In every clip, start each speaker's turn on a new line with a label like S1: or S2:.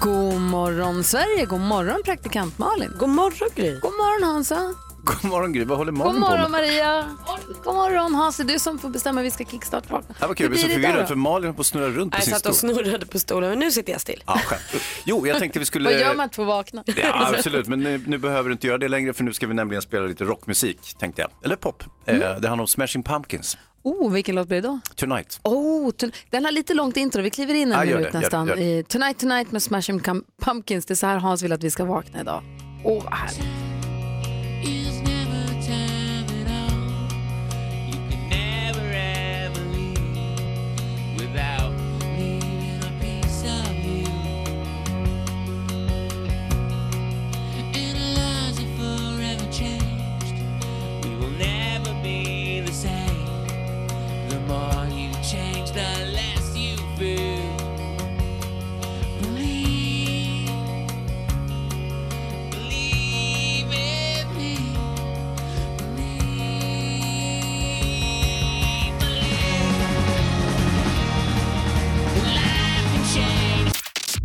S1: God morgon Sverige, god morgon praktikant Malin. God morgon Gry. God morgon Hansa.
S2: God morgon Gry, vad håller
S1: God
S2: Malin på
S1: morgon
S2: med?
S1: Maria. God morgon Hans, det är du som får bestämma vi ska kickstarta.
S2: Det här var kul,
S1: Hur
S2: jag blev så
S1: blir det idag
S2: förvirrad
S1: då?
S2: för Malin höll på att snurra runt på
S3: Jag
S2: sin
S3: satt
S2: stol.
S3: och snurrade på stolen, men nu sitter jag still.
S2: Ja, skönt. Jo, jag tänkte vi skulle...
S1: Vad gör man att få vakna?
S2: Ja, absolut, men nu, nu behöver du inte göra det längre för nu ska vi nämligen spela lite rockmusik, tänkte jag. Eller pop.
S1: Mm.
S2: Eh, det handlar om Smashing Pumpkins,
S1: Oh, vilken låt blir det då?
S2: Tonight.
S1: Oh, ton- den har lite långt intro, vi kliver in en
S2: Ja, gör
S1: minut
S2: det, gör
S1: nästan.
S2: det, gör det.
S1: I Tonight Tonight med Smashing Cam- Pumpkins, det är så här Hans vill att vi ska vakna idag. Åh, vad härligt.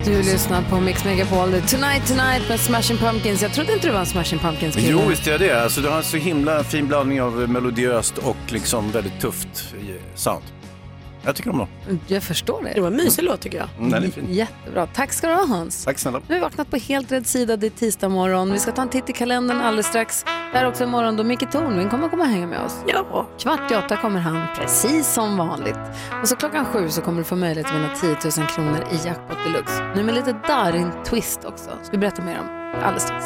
S1: Du lyssnar på Mix Megapol, det är Tonight Tonight med Smashing Pumpkins. Jag trodde inte du var en Smashing Pumpkins kille.
S2: Jo, visst är jag det. Alltså, du har en så himla fin blandning av eh, melodiöst och liksom väldigt tufft eh, sound. Jag tycker om dem.
S1: Jag förstår
S3: Det
S1: det.
S3: var en mysig låt tycker jag.
S2: Mm, den är fin.
S1: Jättebra. Tack ska du ha Hans.
S2: Tack snälla.
S1: Nu har vi vaknat på helt rätt sida, det är tisdag morgon. Vi ska ta en titt i kalendern alldeles strax. Det här är också en morgon då Micke Tornving kommer komma och hänga med oss.
S3: Ja.
S1: Kvart i åtta kommer han, precis som vanligt. Och så klockan sju så kommer du få möjlighet att vinna 10 000 kronor i Jackpot Deluxe. Nu med lite Darin-twist också. Ska vi berätta mer om alldeles strax.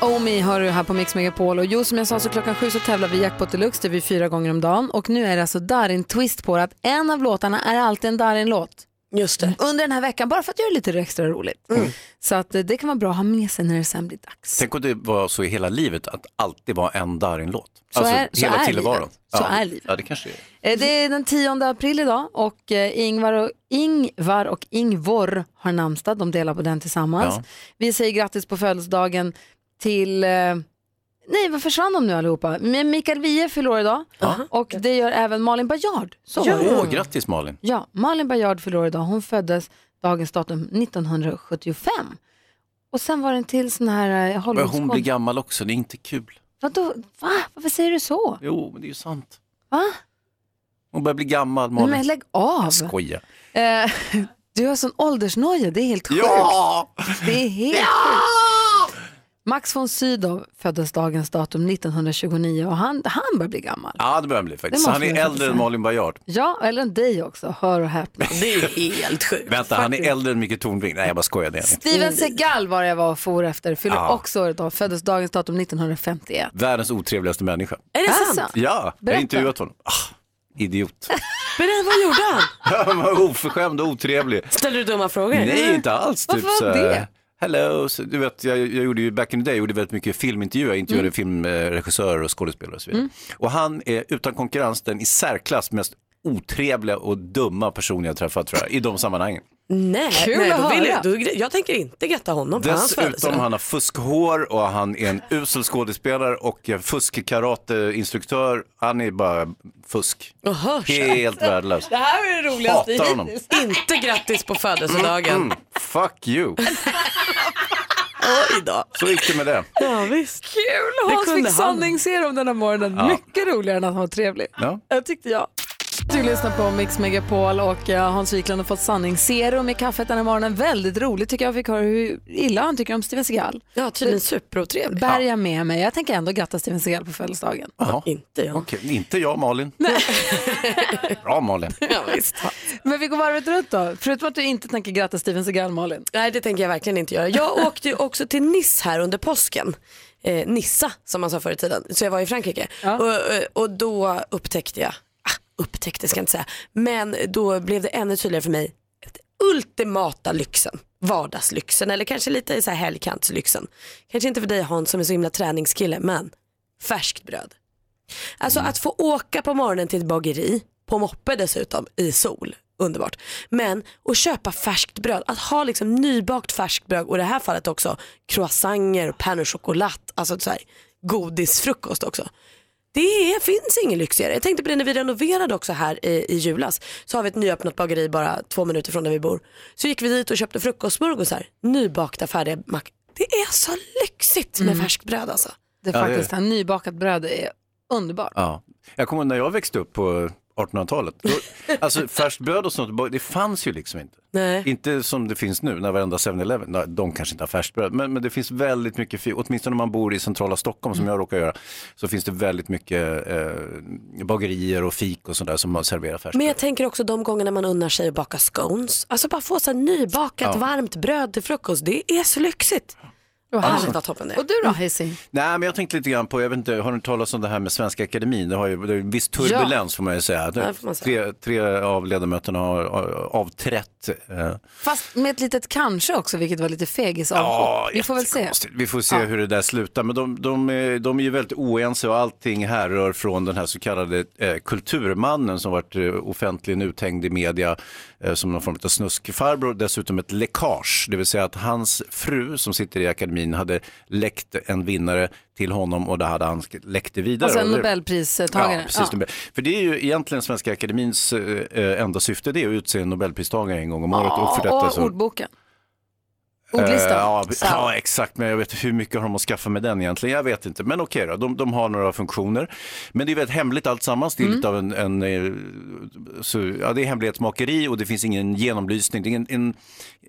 S1: Omi hör du här på Mix Megapol och jo som jag sa så klockan sju så tävlar vi i Jackpot Deluxe, det är vi fyra gånger om dagen och nu är det alltså Darin-twist på det att en av låtarna är alltid en Darin-låt
S3: Just det. Mm.
S1: under den här veckan bara för att göra det lite extra roligt. Så att eh, det kan vara bra att ha med sig när det sen blir dags.
S2: Tänk om det var så i hela livet, att alltid vara en Darin-låt.
S1: Så
S2: alltså,
S1: är- så
S2: hela
S1: är
S2: tillvaron.
S1: livet. Så
S2: ja,
S1: är livet.
S2: Ja, det kanske är.
S1: Eh, Det är den 10 april idag och eh, Ingvar och, Ingvar och Ingvor har namnsdag. De delar på den tillsammans.
S2: Ja.
S1: Vi säger grattis på födelsedagen till eh, Nej, vad försvann de nu allihopa? Men Mikael Wiehe fyller år idag och det gör även Malin Baryard. Så var det.
S2: Åh, grattis Malin.
S1: Ja, Malin Baryard fyller år idag. Hon föddes dagens datum 1975. Och sen var det en till sån här eh,
S2: Men hon blir
S1: Hollywoodskådis.
S2: gammal också, det är inte kul.
S1: Vadå? Va? Varför säger du så?
S2: Jo, men det är ju sant.
S1: Va?
S2: Hon börjar bli gammal,
S1: Nej,
S2: Malin.
S1: Men lägg av!
S2: Skoja.
S1: Eh, du har sån åldersnoja, det är helt sjukt.
S2: Ja!
S1: Det är helt sjukt. Max von Sydow föddes dagens datum 1929 och han, han börjar bli gammal.
S2: Ja, det börjar han bli faktiskt.
S1: Det måste
S2: Han
S1: man
S2: är
S1: faktiskt
S2: äldre
S1: säga.
S2: än Malin Baryard.
S1: Ja, eller än dig också, hör och häpna.
S3: Det är helt sjukt.
S2: Vänta, han är äldre än Micke Tornving. Nej, jag bara skojar. Det är han inte.
S1: Steven Seagal var jag var och for efter, fyller
S2: Ja.
S1: också år idag, föddes dagens datum 1951.
S2: Världens otrevligaste människa.
S3: Är det sant?
S1: Alltså,
S2: Ja, jag
S1: Berätta.
S2: har intervjuat honom. Ah, idiot.
S3: Men det- vad gjorde han?
S2: Han var oförskämd och otrevlig.
S3: Ställde du dumma frågor?
S2: Nej, inte alls. typ
S1: Varför var
S2: så här,
S1: det?
S2: Hello, så, du vet, jag, jag gjorde ju back in the day, jag gjorde väldigt mycket filmintervjuer, jag
S3: Mm.
S2: intervjuade filmregissörer och skådespelare och så vidare. Och han är utan konkurrens den i särklass mest otrevliga och dumma person jag träffat tror jag, i de sammanhangen.
S3: Nej,
S1: Kul
S3: nej
S1: att
S3: då vill
S1: höra.
S3: jag, då, jag tänker inte gratta honom på hans
S2: Dessutom
S3: födelsedag.
S2: han har fuskhår och han är en usel skådespelare och en fuskkarateinstruktör. Han är bara fusk.
S3: Och hörs.
S2: Helt värdelös.
S3: Det här är det roligaste
S2: Hatar honom.
S3: hittills. Inte grattis på födelsedagen.
S2: Mm, fuck you.
S3: Oj då.
S2: Så gick det med det.
S3: Ja, visst.
S1: Kul!
S3: Det
S1: Hans fick
S3: kunde han.
S1: sanningsserum den här morgonen. Mycket roligare än att han var trevlig.
S2: Ja.
S1: Jag tyckte jag. Du lyssnar på Mix Megapol och eh, Hans Wiklund har fått sanningsserum i kaffet den här morgonen. Väldigt roligt tycker jag. Fick höra hur illa han tycker om Steven Seagal.
S3: Ja, tydligen superotrevlig.
S1: Bär jag med mig. Jag tänker ändå gratta Steven Seagal på födelsedagen.
S2: Jaha.
S3: Inte jag.
S2: Okej, inte jag Malin. Bra Malin.
S3: Ja, visst.
S1: Men vi går varvet runt då. Förutom att du inte tänker gratta Steven Seagal, Malin.
S3: Nej, det tänker jag verkligen inte göra. Jag åkte ju också till Nice här under påsken. Eh, Nissa som man sa förr i tiden. Så jag var i Frankrike. Och, och då upptäckte jag, ah, upptäckte ska jag inte säga, men då blev det ännu tydligare för mig den ultimata lyxen. vardagslyxen eller kanske lite så här helgkantslyxen. Kanske inte för dig Hans som är så himla träningskille men färskt bröd. Alltså att få åka på morgonen till ett bageri, på moppe dessutom, i sol. Underbart. Men att köpa färskt bröd, att ha liksom nybakt färskt bröd och i det här fallet också croissanger, pain au chocolat, alltså så här, godisfrukost också. Det är, finns ingen lyxigare. Jag tänkte på det när vi renoverade också här i, i julas. Så har vi ett nyöppnat bageri bara två minuter från där vi bor. Så gick vi dit och köpte frukostsmörgåsar, nybakta färdiga mackor. Det är så lyxigt med färskt bröd alltså.
S1: Det är
S2: Ja, det är
S1: faktiskt, det här nybakat bröd är underbart.
S2: Ja. Jag kommer ihåg när jag växte upp på 1800-talet. Då, alltså färskt bröd och sånt, det fanns ju liksom inte.
S3: Nej.
S2: Inte som det finns nu när varenda 7-Eleven, nej, de kanske inte har färskt bröd, men, men det finns väldigt mycket, fi- åtminstone om man bor i centrala Stockholm
S3: Mm.
S2: som jag råkar göra, så finns det väldigt mycket eh, bagerier och fik och sådär som har serverar färskt
S3: Men
S2: bröd.
S3: jag tänker också de gångerna man unnar sig att baka scones. Alltså bara få så här nybakat varmt bröd till frukost. Det är så lyxigt.
S1: Och,
S3: Härligt vad toppen det är. Mm.
S1: och du då Hising?
S2: Nej, men jag tänkte lite grann på, jag vet inte, har ni talat om det här med Svenska Akademin? Det har ju det är en viss turbulens får man ju säga.
S3: det får man säga.
S2: Tre, tre av ledamöterna har har avträtt. Eh,
S1: Fast med ett litet kanske också, vilket var lite fegis avhopp. Vi får väl se.
S2: jättekonstigt. Vi får se hur det där slutar. Men de, de, är- de är ju väldigt oense och allting härrör från den här så kallade eh, kulturmannen som varit eh, offentligen uthängd i media eh, som någon form av snuskfarbror. Dessutom ett läckage, det vill säga att hans fru som sitter i akademin hade läckt en vinnare till honom och det hade han sk- läckt det vidare.
S1: Alltså en
S2: Och det-
S1: nobelpristagare.
S2: Ja, precis, Nobel. För det är ju egentligen Svenska Akademins eh, enda syfte, det är att utse en nobelpristagare en gång om året. och för detta
S1: och
S2: så...
S1: ordboken. Ordlistan.
S2: Eh, ja,
S1: Så.
S2: ja, exakt. Men jag vet hur mycket har de att skaffa med den egentligen? Jag vet inte. Men okej då, de, de har några funktioner. Men det är väldigt hemligt alltsammans. Det är lite av en, en eh, så, ja, det är hemlighetsmakeri och det finns ingen genomlysning. Det är en, en,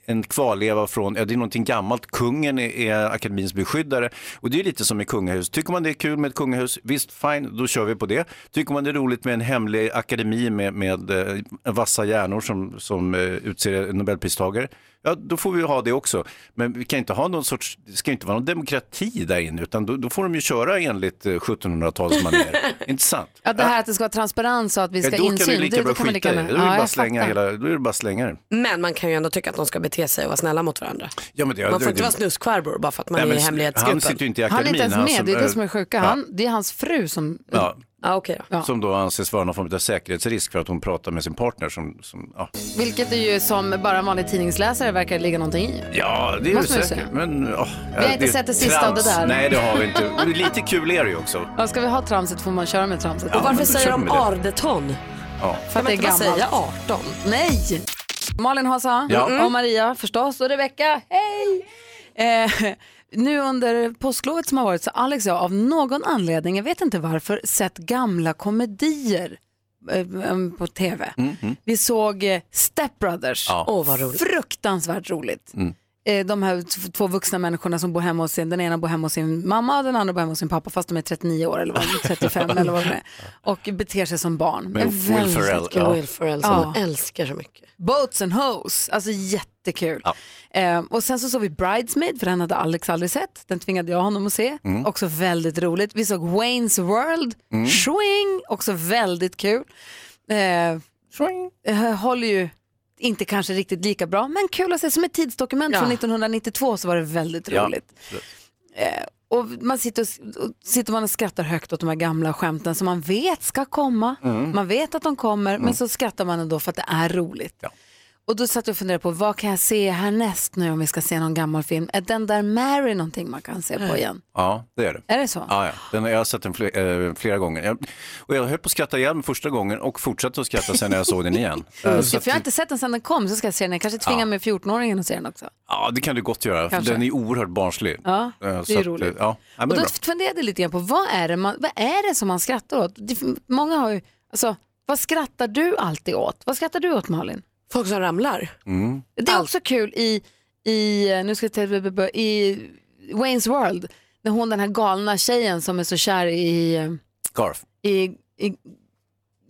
S2: en kvarleva från, ja, det är någonting gammalt. Kungen är, är akademins beskyddare och det är lite som med kungahus. Tycker man det är kul med ett kungahus, visst fine, då kör vi på det. Tycker man det är roligt med en hemlig akademi med, med eh, vassa hjärnor som, som eh, utser en nobelpristagare, ja då får vi ha det också. Men vi kan inte ha någon sorts, det ska inte vara någon demokrati där inne, utan då, då får de ju köra enligt eh, 1700-talsmanér. inte sant?
S1: Ja, det här att det ska vara transparens och att vi
S2: Ja,
S1: ska
S2: då kan
S1: insyn.
S2: du lika bra
S1: kan man
S2: skita i det. Då är det
S1: Ja,
S2: bara
S1: jag
S2: slänga
S1: fattar.
S2: hela- då är det bara slänga det.
S3: Men man kan ju ändå tycka att de ska bete sig och vara snälla mot varandra.
S2: Ja, men
S3: man
S2: det-
S3: får
S2: det-
S3: inte vara snuskfarbror bara för att man
S2: Nej,
S3: är
S2: men
S3: i
S2: Han
S3: hemlighetsgruppen.
S2: sitter ju inte i alltså,
S1: Han
S2: eh, akademin.
S1: är inte ens med, det är det som är sjuka.
S2: ja.
S1: Han, det är hans fru som...
S2: Ja,
S3: Ja, okej då.
S1: Ja.
S2: Som då anses vara någon form av säkerhetsrisk för att hon pratar med sin partner som, som ja.
S1: Vilket är ju som bara en vanlig tidningsläsare verkar ligga någonting i.
S2: ja, det är
S1: Måste man
S2: det
S1: ju
S2: säkert.
S1: säga.
S2: Men, ja,
S1: har inte
S2: är
S1: sett det sista av det
S2: trams.
S1: där.
S2: Nej, det har vi inte. Och Lite kul är det ju också.
S1: Ja, ska vi ha tramset får man köra med tramset.
S2: Ja,
S3: Varför
S2: men då
S3: säger
S2: kör
S3: de
S2: vi med det.
S3: ardeton?
S2: Ja.
S1: För att det är
S3: Kan man inte bara
S1: gammalt.
S3: säga 18?
S1: Nej! Malin Hasa
S2: Ja.
S3: Mm.
S1: och Maria förstås och Rebecka, hej! Eh, nu under påsklovet som har varit så har Alex och jag av någon anledning, jag vet inte varför, sett gamla komedier eh, eh, på tv. Vi såg eh, Step Brothers.
S2: Mm. Ja.
S3: Åh vad roligt.
S1: Fruktansvärt roligt. Eh, De här t- två vuxna människorna som bor hemma hos sin, den ena bor hemma hos sin mamma och den andra bor hemma hos sin pappa fast de är 39 år eller vad, de är, 35 eller vad de är. Och beter sig som barn.
S2: Med
S1: Men
S2: Will
S1: väldigt
S2: Ferrell,
S1: kul.
S2: Ja.
S3: Will Ferrell som
S1: Ja.
S3: man älskar så mycket.
S1: Boats and Hoes, alltså jättekul. Eh, och sen så såg vi Bridesmaid, för den hade Alex aldrig sett. Den tvingade jag honom att se,
S2: Mm.
S1: också väldigt roligt. Vi såg Wayne's World, Swing, också väldigt kul. Eh, eh, håller ju inte kanske riktigt lika bra, men kul att se. Som ett tidsdokument
S3: Ja.
S1: från 1992 så var det väldigt
S2: Ja.
S1: roligt. Eh, och man sitter och, s- och sitter man och skrattar högt åt de här gamla skämten som man vet ska komma. Man vet att de kommer, men så skrattar man ändå för att det är roligt. Och då satt jag och funderade på vad kan jag se härnäst nu om vi ska se någon gammal film? Är den där Mary någonting man kan se på igen?
S2: ja, det är det.
S1: Är det så?
S2: Ja, ja. Den, jag har sett den fler, eh, flera gånger. Jag, och jag höll på att skratta ihjäl mig första gången och fortsatte att skratta sen när jag såg den igen.
S3: Mm.
S2: Eh, så
S1: Ja,
S2: att,
S1: för jag har inte sett den sedan den kom så ska jag se den. Jag kanske tvingar med 14-åringen att se den också.
S2: ja, det kan du gott göra. För
S1: Kanske.
S2: den är oerhört barnslig.
S1: Ja,
S2: Eh,
S1: det
S2: så
S1: är ju
S2: att, eh,
S1: roligt.
S2: Ja, ja, men
S1: och
S2: det
S1: då
S2: är bra.
S1: funderade jag lite grann på vad är det, man, vad är det som man skrattar åt? Det, många har ju, alltså, vad skrattar du alltid åt? Vad skrattar du åt Malin?
S3: Folk som ramlar.
S2: Mm.
S1: Det är också kul i, i, nu ska jag ta, i Wayne's World, när hon den här galna tjejen som är så kär i,
S2: Garf.
S1: i, i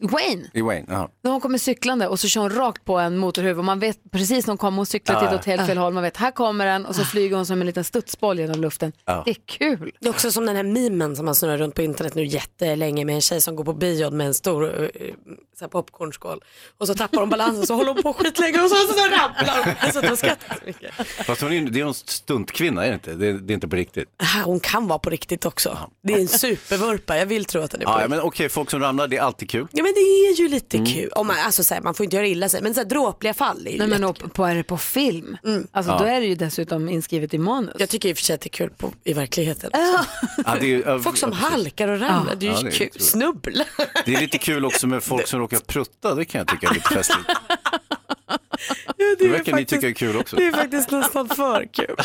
S1: Wayne.
S2: I Wayne, ja.
S1: När hon kommer cyklande och så kör hon rakt på en motorhuv och man vet precis när hon kommer, hon cyklar
S2: Ja.
S1: till åt helt fel
S3: Ah.
S1: håll, man vet här kommer den och så flyger hon som en liten studsboll genom luften.
S2: Ah.
S1: Det är kul.
S3: Det är också som den här mimen som man snurrar runt på internet nu jättelänge med en tjej som går på bion med en stor eh, så här popcornskål. Och så tappar hon balansen så håller hon på skitlänge och så, så ramlar hon. Alltså, de skrattar så mycket.
S2: Fast hon är, ju- det är en stuntkvinna, är det inte? Det är, det är inte på riktigt.
S3: Ah, Hon kan vara på riktigt också. Det är en supervurpa, jag vill tro att den är på
S2: Ja,
S3: riktigt.
S2: ja, men okej, folk som ramlar, det är alltid kul. Mm.
S3: Ja men det är ju lite kul. Om man, alltså, så här, man får inte göra illa sig men så här, dråpliga fall är ju
S1: Nej, men
S3: jätte-
S1: och på, är det på film, alltså, då är det ju dessutom inskrivet i manus.
S3: Mm. Jag tycker i och för sig att det är kul på, i verkligheten.
S2: Ja, det är, ja,
S3: Folk som
S2: ja, precis.
S3: halkar och ramlar, det är ju
S2: Ja, det är
S3: kul.
S2: otroligt.
S3: Snubbla.
S2: Det är lite kul också med folk som råkar prutta, det kan jag tycka är lite festligt. Det verkar ni tycka är kul också.
S3: Det är faktiskt nästan för kul.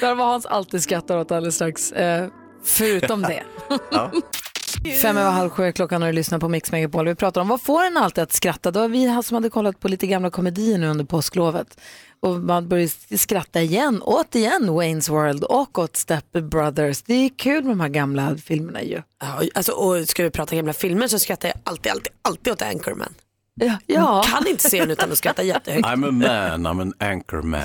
S1: Där var Hans alltid skrattar åt alldeles strax, eh, förutom det. Fem över halv sju är klockan och du lyssnar på Mix Megapol. Vi pratar om vad får en alltid att skratta? Det var vi som hade kollat på lite gamla komedier nu under påsklovet. Och man börjar skratta igen, åt igen Wayne's World och åt Step Brothers. Det är kul med de här gamla filmerna ju.
S3: Ja, alltså, och ska vi prata gamla filmer så skrattar jag alltid, alltid, alltid åt Anchorman.
S1: Ja, ja.
S3: Kan inte se den utan att skratta jättehögt.
S2: I'm a man, I'm an anchor
S3: Ah.
S2: man.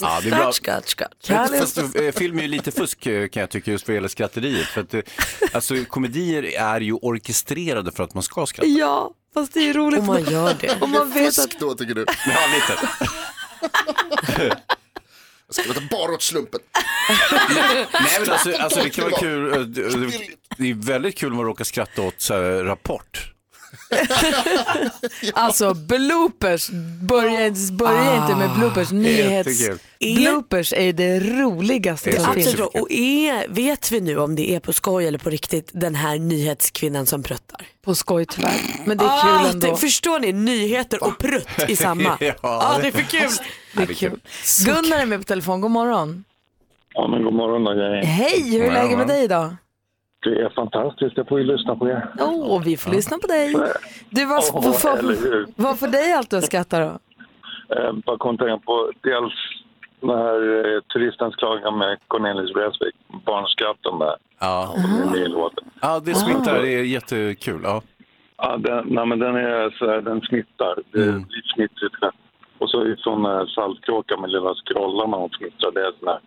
S2: Ja, det är bra.
S3: Skratt, skratt, skratt.
S2: Fast, eh, film är ju lite fusk eh, kan jag tycka just vad gäller skratteriet. För att, eh, alltså, komedier är ju orkestrerade för att man ska skratta.
S1: ja fast det är roligt.
S3: Om man gör det.
S1: Om man vet att
S4: Fusk då tycker du?
S2: Alltså, Ja, lite.
S4: Jag ska veta bara åt slumpen.
S2: Nej, men alltså, alltså, det kan vara kul. eh, det- Det är väldigt kul om man råkar skratta åt så här, Rapport.
S1: Alltså bloopers, börja, börja inte
S3: Ah,
S1: med bloopers. Nyhets...
S2: Jättekul.
S1: Bloopers är det roligaste som
S2: Absolut.
S1: finns.
S3: Alltså, och är, vet vi nu om det är på skoj eller på riktigt den här nyhetskvinnan som pruttar?
S1: På skoj tyvärr, men det är
S3: Ah,
S1: kul ändå.
S3: det- Förstår ni? Nyheter och prutt i samma.
S2: Ja,
S3: ah, det är för kul.
S1: Det är kul. Gunnar är med på telefon, god morgon.
S5: Ja, men god morgon då, gänget.
S1: Hej, hur är läget med dig idag?
S5: Det är fantastiskt. Jag får ju lyssna på er.
S1: Åh, vi får lyssna på dig. Du, vad,
S5: Åh,
S1: vad,
S5: eller
S1: vad,
S5: hur?
S1: vad får dig allt att skratta då?
S5: Eh, bara kom att tänka på dels den här eh, turistens klagan med Cornelis Vreeswijk. Barnskratten där.
S2: Ja.
S5: som är i låten.
S2: ja, det
S5: Ah.
S1: Ah.
S2: smittar. Det är jättekul. Ja.
S5: Ja, den, nej, men den, är så här, den smittar. Det är
S2: Mm.
S5: lite smittrigt. där. Och så är det sån här saltkråka med lilla skrollarna och smittrar. Det är sån här,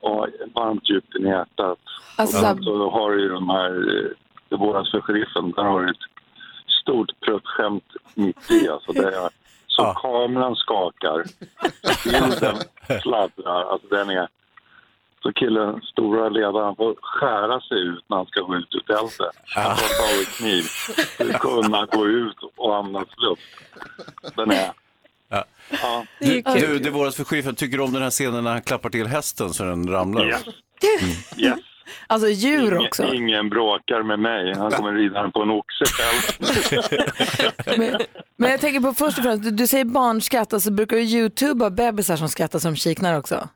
S5: och varmt djupt in i hjärtat.
S1: Alltså,
S5: Och så har du ju de här, eh, det våras för sheriffen, där har du ett stort pruttskämt mitt i. Alltså det är, så
S2: Ja.
S5: kameran skakar, bilden fladdrar, alltså den är... Så killen, stora ledaren, får skära sig ut när han ska gå ut ur tältet. Han får ta i kniv för att kunna gå ut och andas luft. Den är... Ja.
S2: Du, du, det våras för chefen. Tycker du om den här scenen när han klappar till hästen så den ramlar?
S5: Yes. Yes.
S1: alltså djur
S5: Ingen,
S1: också.
S5: ingen bråkar med mig. Han kommer rida på en oxe själv.
S1: Men, men jag tänker på först och främst, du, du säger barnskratt, alltså brukar du youtuba bebisar som skrattar som kiknar också?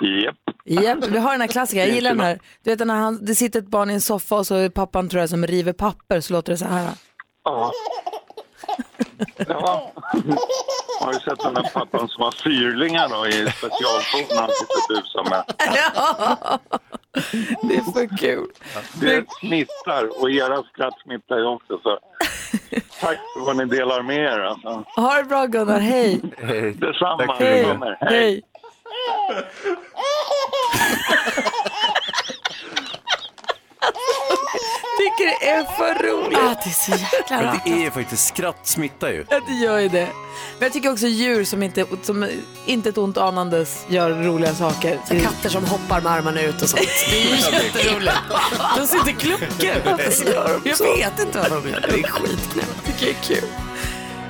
S5: Japp.
S1: Japp, vi har den här klassikern. Jag gillar den här. Du vet när han, det sitter ett barn i en soffa och så är pappan tror jag som river papper så låter det så här.
S5: Ja. ja. Har du sett den där pappan som har fyrlingar då i specialfordon han sitter och busar med?
S1: Det är för kul.
S5: Det smittar och era skratt smittar ju också. Så. Tack för vad ni delar med er. Alltså.
S1: Ha det bra Gunnar, hej.
S5: Detsamma.
S2: Tack för det.
S5: Gunnar. Hej.
S1: hej. Tycker det är för roligt.
S3: Ah, det är så jäkla
S2: Men
S3: bra.
S2: det är ju faktiskt skratt smittar ju.
S1: Ja, det gör ju det. Men jag tycker också djur som inte, som inte ett ont anandes gör roliga saker.
S3: Så katter som hoppar med armarna ut och sånt. Det är ju jätteroligt. De sitter kluckor. Jag vet inte vad de gör. Det är skitknäppt. Det är kul.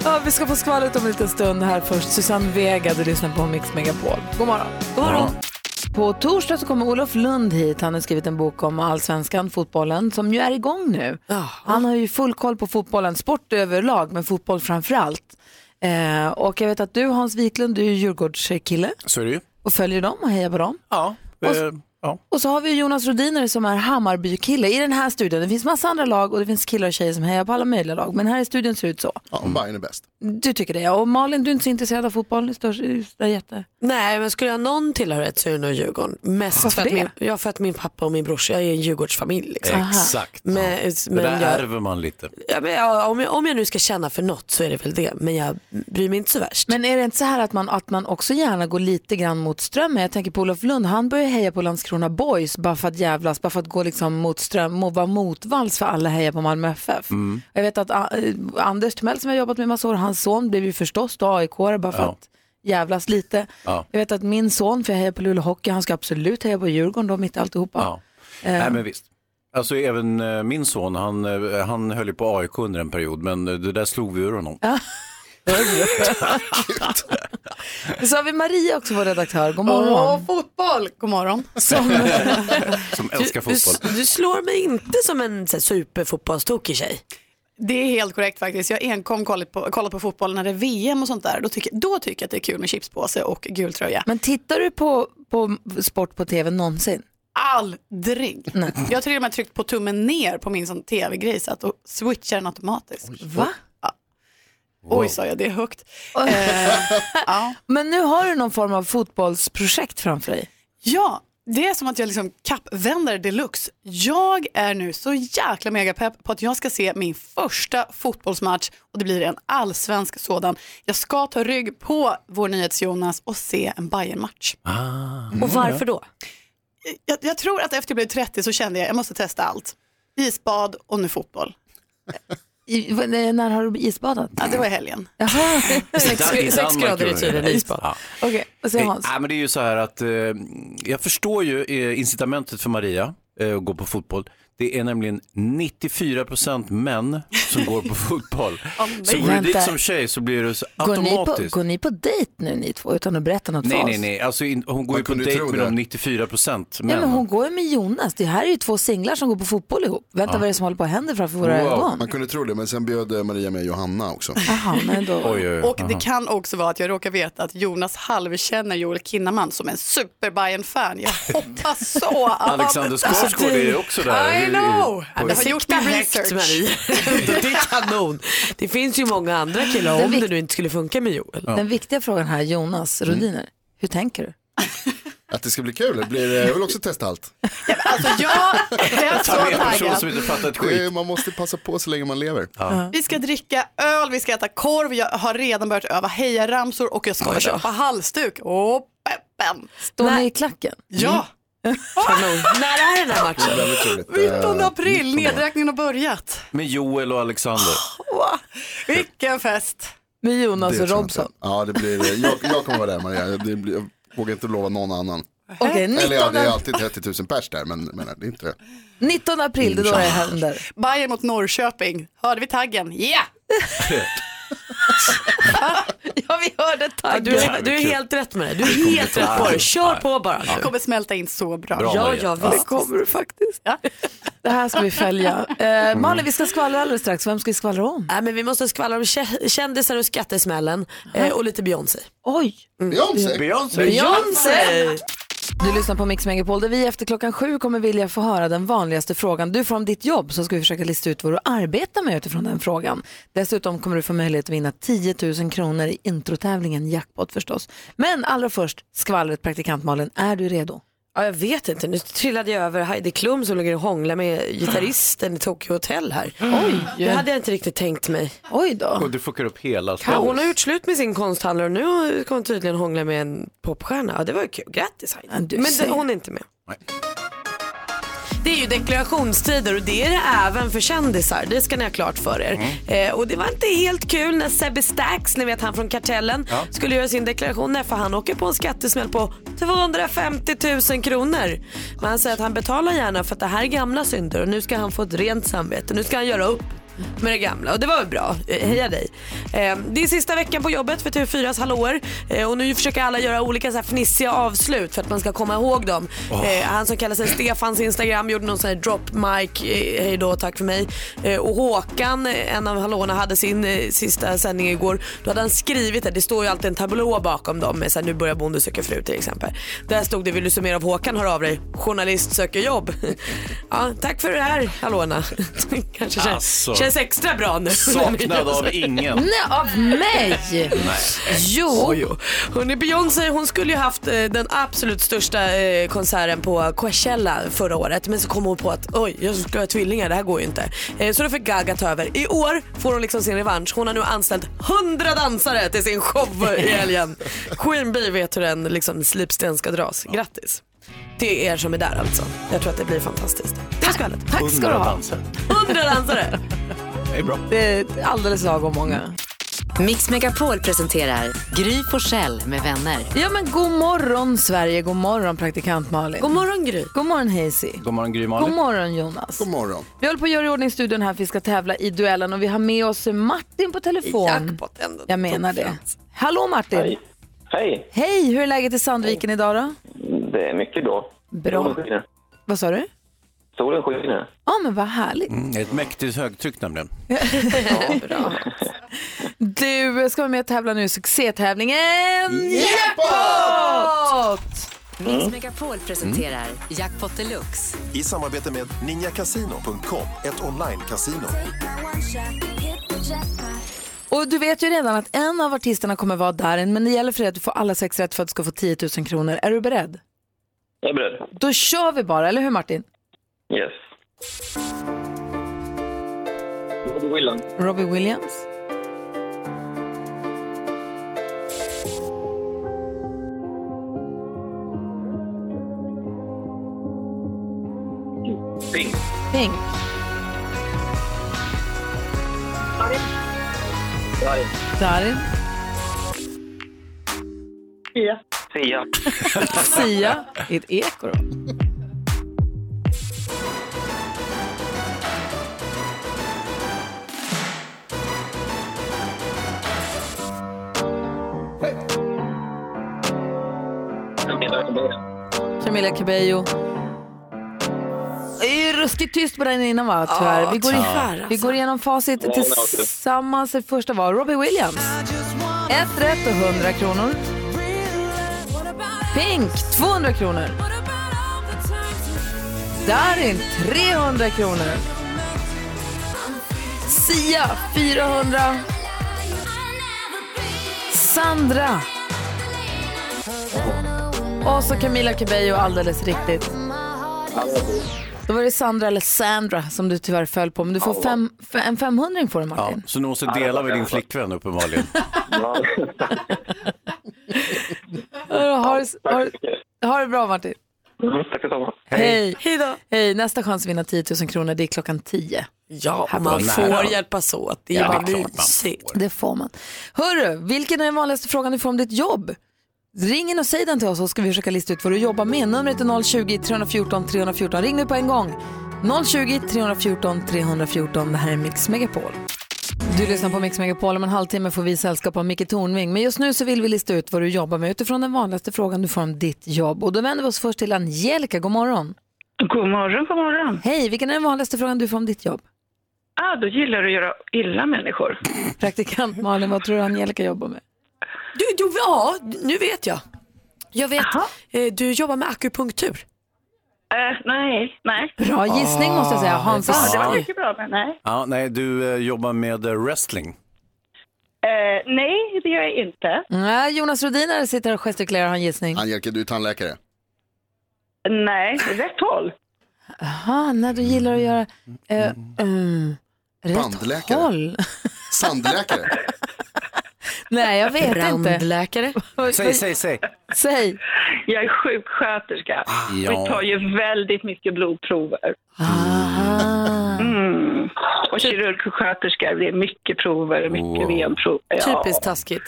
S1: Ja, vi ska få skvallret om en liten stund här först. Susanne Vega, du lyssnar på Mix Megapol. God morgon. God morgon. På torsdag så kommer Olof Lund hit. Han har skrivit en bok om allsvenskan, fotbollen, som ju är igång nu. Han har ju full koll på fotbollen, sport överlag, men fotboll framför allt. Eh, och jag vet att du, Hans Wiklund, du är ju Djurgårdskille
S2: Så är det ju.
S1: och följer dem och hejar på dem.
S2: Ja.
S1: Och,
S2: eh,
S1: Och så har vi Jonas Rodiner som är Hammarbykille i den här studion. Det finns massa andra lag och det finns killar och tjejer som hejar på alla möjliga lag. Men här i studion ser det ut så.
S4: Ja, Bayern är bäst.
S1: Du tycker det ja. Och Malin, du är inte så intresserad av fotboll. Det står i stora jätte.
S3: Nej, men skulle jag ha någon tillhörighet så är det nog Djurgården. Mest för att,
S1: det?
S3: min, ja, för att min pappa och min brorsa är en Djurgårdsfamilj. Liksom.
S2: Exakt.
S3: Men,
S2: Det
S3: men
S2: där
S3: jag,
S2: ärver man lite.
S3: ja, men, ja, om, jag, om jag nu ska känna för något så är det väl det. Men jag bryr mig inte så värst.
S1: Men är det inte så här att man, att man också gärna går lite grann mot strömmen? Jag tänker på Olof Lund, han börjar heja på Landskrona Boys bara för att jävlas, bara för att gå liksom mot ström, må- vara motvalls för alla hejar på Malmö FF.
S6: Mm.
S1: Jag vet att ah, eh, Anders Timell som jag har jobbat med i massa år, hans son blev ju förstås då aik bara för
S2: Ja.
S1: att jävlas lite.
S2: Ja.
S1: Jag vet att min son, för jag hejar på Luleå Hockey, han ska absolut heja på Djurgården då mitt i alltihopa.
S2: Ja.
S3: Eh.
S2: Nej, men visst. Alltså även eh, min son, han, eh, han höll ju på AIK under en period, men eh, det där slog vi ur honom.
S1: Så har vi Maria också, vår redaktör, god morgon.
S7: fotboll! God morgon.
S1: Som,
S2: Som älskar
S3: du,
S2: fotboll.
S3: du slår mig inte som en så här, superfotbollstokig tjej.
S7: Det är helt korrekt faktiskt. Jag har enkom kollat på, kollat på fotboll när det är VM och sånt där. Då tycker, då tycker jag att det är kul med chipspåse och gul tröja.
S1: men tittar du på, på sport på tv någonsin?
S7: Aldrig! Jag har till och med tryckt på tummen ner på min sån tv-grej så att då switchar den automatiskt.
S1: Va?
S7: Oj, sa jag det högt. Eh, ja.
S1: Men nu har du någon form av fotbollsprojekt framför dig.
S7: Ja, det är som att jag liksom kappvänder deluxe. Jag är nu så jäkla megapepp på att jag ska se min första fotbollsmatch och det blir en allsvensk sådan. Jag ska ta rygg på vår nyhets-Jonas och se en Bayern-match.
S2: Ah.
S7: Ah.
S1: Mm,
S3: Och varför
S7: Mm,
S3: då?
S7: Jag, jag tror att efter jag blev 30 så kände jag jag måste testa allt. Isbad och nu fotboll.
S1: I, v- eh, när har du isbadat?
S7: Ja, det var i helgen.
S1: Jaha,
S3: Sex,
S2: Dan- i
S3: sex
S2: Danmark
S3: grader
S2: gjorde
S3: i
S2: det.
S3: tiden isbad.
S2: Ja.
S1: okej. Och så Hans.
S2: Eh, nej, men det är ju så här att eh, jag förstår ju eh, incitamentet för Maria eh, att gå på fotboll. Det är nämligen 94% män som går på fotboll. så går du
S1: Vänta.
S2: dit som tjej så blir det så
S1: Går ni, på,
S2: automatiskt.
S1: går ni på dejt nu ni två utan att berätta något
S2: Nej,
S1: för
S2: nej,
S1: oss?
S2: nej. Alltså, in, hon går
S4: Man
S2: ju på
S4: kunde ju
S2: dejt
S4: tro
S2: med
S4: det.
S2: de 94% män.
S1: Ja, men hon går ju med Jonas. Det här är ju två singlar som går på fotboll ihop. Vänta vad är det som håller på att hända framför våra
S2: Wow.
S1: ögon?
S4: Man kunde tro det, men sen bjöd eh, Maria med Johanna också.
S1: Jaha, men då.
S2: Oj, oj, oj.
S7: Och det kan också vara att jag råkar veta att Jonas halvkänner Joel Kinnaman som en super bayern fan Jag hoppas så.
S2: Alexander
S1: Alltså,
S2: Skarsgård är ju också där.
S7: I know!
S2: Oj.
S7: Jag har gjort min research.
S3: det är kanon. Det finns ju många andra killar om
S1: Den
S3: det
S1: vikt-
S3: nu inte skulle funka med Joel.
S1: Den viktiga frågan här, Jonas
S2: Mm.
S1: Rodiner, hur tänker du?
S4: Att det ska bli kul, det blir, eh, jag vill också testa allt.
S7: Alltså jag är så
S2: Ta med en person som
S7: taggad.
S2: inte fattar ett
S4: Det,
S2: skit.
S4: är- man måste passa på så länge man lever.
S7: Vi ska dricka öl, vi ska äta korv, jag har redan börjat öva hejaramsor och jag ska köpa halsduk. Åh, peppen!
S1: Står
S3: Nej.
S1: ni i klacken?
S7: Ja,
S3: Kanon. När är den här
S4: Det är
S3: matchen?
S4: väldigt roligt.
S7: 19
S4: Eh, 19
S7: april,
S4: april.
S7: nedräkningen har börjat.
S2: Med Joel och Alexander.
S1: Oh,
S7: Åh, vilken fest!
S1: Med
S4: Det
S1: Jonas och
S4: tror jag
S1: Alltså, Robson?
S4: inte. Ja, det blir, eh, jag, jag kommer vara där Maria. Det blir, jag vågar inte lova någon annan.
S1: Okej,
S4: Eller ja,
S1: 19,
S4: det är alltid 30 000 pers där, men, men det är inte
S1: 19 april, det är då det händer.
S7: Bayern mot Norrköping, hörde vi taggen? Ja!
S1: Ja, vi hörde
S3: Ja,
S1: taggen.
S3: Du, är- du är helt rätt med det. Du är helt rätt på det. Kör på bara.
S7: Det kommer smälta in så bra.
S2: Bra,
S3: Ja,
S2: Maria.
S3: ja visst.
S1: kommer du faktiskt. Det här ska vi följa. Eh, Malin, vi ska skvallra alldeles strax. Vem ska vi skvallra om?
S3: Nej, men vi måste skvallra om kä- kändisar och skattesmällen eh, och lite Beyoncé. Mm.
S1: Oj!
S4: Beyoncé!
S2: Beyoncé.
S3: Beyoncé!
S1: Du lyssnar på Mix Megapol där vi efter klockan sju kommer vilja få höra den vanligaste frågan. Du får om ditt jobb så ska vi försöka lista ut vad du arbetar med utifrån den frågan. Dessutom kommer du få möjlighet att vinna 10 000 kronor i introtävlingen Jackpot förstås. Men allra först, skvallret praktikant Malin, är du redo?
S3: Ja, jag vet inte. Nu trillade jag över Heidi Klum som ligger och hånglar med gitarristen i Tokyo Hotel här. Det hade jag inte riktigt tänkt mig.
S1: Oj då.
S2: Och du fuckar upp hela
S3: Ja, hon
S2: stället.
S3: har gjort slut med sin konsthandlare och nu kommer hon tydligen hångla med en popstjärna. Ja, det var ju kul. Grattis Heidi.
S1: Ja, du
S3: Men det,
S1: ser.
S3: hon är inte med.
S2: Nej.
S3: Det är ju deklarationstider och det är det även för kändisar. Det ska ni ha klart för er. Eh, och det var inte helt kul när Sebbe Stax, ni vet han från Kartellen, skulle göra sin deklaration. Nej, för han åker på en skattesmäll på 250 000 kronor. Men han säger att han betalar gärna för att det här är gamla synder och nu ska han få ett rent samvete. Nu ska han göra upp. med det gamla och det var väl bra. Eh, Heja dig. Eh, det är sista veckan på jobbet för TV4s hallåor eh, och nu försöker alla göra olika så här fnissiga avslut för att man ska komma ihåg dem. Eh, han som kallar sig Stefans Instagram gjorde någon sån här drop mic, eh, hej då, tack för mig. Eh, och Håkan, eh, en av hallåorna, hade sin eh, sista sändning igår. Då hade han skrivit det, det står ju alltid en tablå bakom dem med så här, nu börjar Bonde söka fru till exempel. Där stod det, vill du summera av Håkan, hör av dig, journalist söker jobb. ja, tack för det här hallåorna. Kanske känns,
S2: Alltså.
S3: känns extra bra nu.
S2: Saknad av ingen.
S1: Nej, av mig! Jo,
S3: Jo, jo. Hörrni, Beyoncé hon skulle ju haft eh, den absolut största eh, konserten på Coachella förra året men så kom hon på att oj, jag ska ha tvillingar, det här går ju inte. Eh, så då fick Gaga ta över. I år får hon liksom sin revansch. Hon har nu anställt 100 dansare till sin show i helgen. Queen Bee vet hur en liksom, slipsten ska dras. Grattis! Till er som är där alltså. Jag tror att det blir fantastiskt. Det ska härligt.
S1: tack ska du ha.
S2: danser.
S3: 100 dansare!
S2: Det är bra.
S1: Det är alldeles lagom många.
S8: Mix Megapol presenterar Gry Forssell med vänner.
S1: Ja, men god morgon Sverige, god morgon praktikant Malin.
S3: God morgon Gry.
S1: God morgon Hazy.
S2: God morgon Gry
S1: God
S2: Malin.
S1: morgon Jonas.
S4: God morgon.
S1: Vi håller på att göra i ordning studion här för vi ska tävla i duellen och vi har med oss Martin på telefon.
S3: Jackpot ändå.
S1: Jag menar det. Hallå Martin. Hej.
S9: Hej,
S1: hur är läget i Sandviken idag då?
S9: det är mycket då.
S1: Bra.
S9: Solen skiner.
S1: Vad sa du?
S9: Solen skiner.
S1: Ja men vad härligt.
S2: Mm, det är ett mäktigt högtryck nämligen.
S1: Du ska vara med och tävla nu i succétävlingen Jackpot!
S8: Mix Megapol presenterar Jackpot Deluxe.
S10: I samarbete med ninjakasino.com, ett online-casino.
S1: Och du vet ju redan att en av artisterna kommer vara där men det gäller för dig att du får alla sex rätt för att du ska få 10 000 kronor. Är du beredd?
S9: Jag är beredd.
S1: Då kör vi bara, eller hur Martin?
S9: Yes. Robbie Williams.
S1: Robbie Williams.
S9: Pink.
S1: Pink.
S9: Darin.
S1: Darin.
S9: Sia. Sia.
S1: Sia. Det är ett eko då.
S9: Camilla Cabello.
S1: Camilla Cabello. Det är ju ruskigt tyst på den innan va, tyvärr. vi, går i, vi går igenom facit
S9: Ja, det var det.
S1: tillsammans. Det första var Robbie Williams. Ett rätt och 100 kronor. Pink 200 kronor. Darin 300 kronor. Sia 400. Sandra. Och så Camila Cabello alldeles riktigt. Då var det Sandra eller Sandra som du tyvärr föll på. Men du får fem, f- en 500 får du
S2: Ja,
S1: Martin.
S2: så nu måste du dela med din flickvän uppenbarligen.
S9: Ja.
S1: Ha, det- ha,
S9: Tack så
S1: det-
S9: mycket.
S1: ha det bra Martin.
S9: Mm, Tack detsamma.
S1: Hej.
S3: Hej då.
S1: Hej. Nästa chans att vinna 10 000 kronor det är klockan 10.
S3: Ja,
S1: Här
S3: man
S2: var
S3: får
S2: nära.
S3: hjälpas åt. Det är
S2: Ja,
S3: ju bara
S2: det är klart man
S3: mysigt.
S1: Det får man. Hörru, vilken är den vanligaste frågan du får om ditt jobb? Ring in och säg den till oss så ska vi försöka lista ut vad du jobbar med. Numret är 020-314 314. Ring nu på en gång. 020-314 314. Det här är Mix Megapol. Du lyssnar på Mix Megapol. Om en halvtimme får vi sällskap av Micke Tornving. Men just nu så vill vi lista ut vad du jobbar med utifrån den vanligaste frågan du får om ditt jobb. Och då vänder vi oss först till Angelica. God morgon.
S9: God morgon, god morgon.
S1: Hej, vilken är den vanligaste frågan du får om ditt jobb?
S9: Ah, då gillar du att göra illa människor.
S1: Praktikant Malin, vad tror du Angelica jobbar med?
S3: Du, du, ja, nu vet jag. Jag vet, eh, du jobbar med akupunktur.
S9: Eh, nej, nej.
S1: Bra gissning måste jag
S3: Ah,
S1: säga. Hansa?
S9: mycket bra, men nej.
S2: Ja, nej, du eh, jobbar med eh, wrestling.
S9: Eh, nej, det gör jag inte.
S1: Nej, Jonas Rodinare sitter och gestikulerar och har en gissning.
S4: Angelica, du är tandläkare.
S9: Nej, rätt håll.
S1: Aha, när du gillar att göra... Eh, mm, rätt
S4: Bandläkare.
S1: håll.
S4: Sandläkare.
S1: Nej, jag vet inte.
S3: Brandläkare.
S2: Säg, säg, säg. Ah.
S1: Säg.
S9: Jag är sjuksköterska. Vi tar
S2: Ja,
S9: ju väldigt mycket blodprover.
S1: Ah.
S9: Mm. Och kirurgsköterska, det är mycket prover, mycket
S2: Wow.
S9: benprover. Ja.
S3: Typiskt taskigt.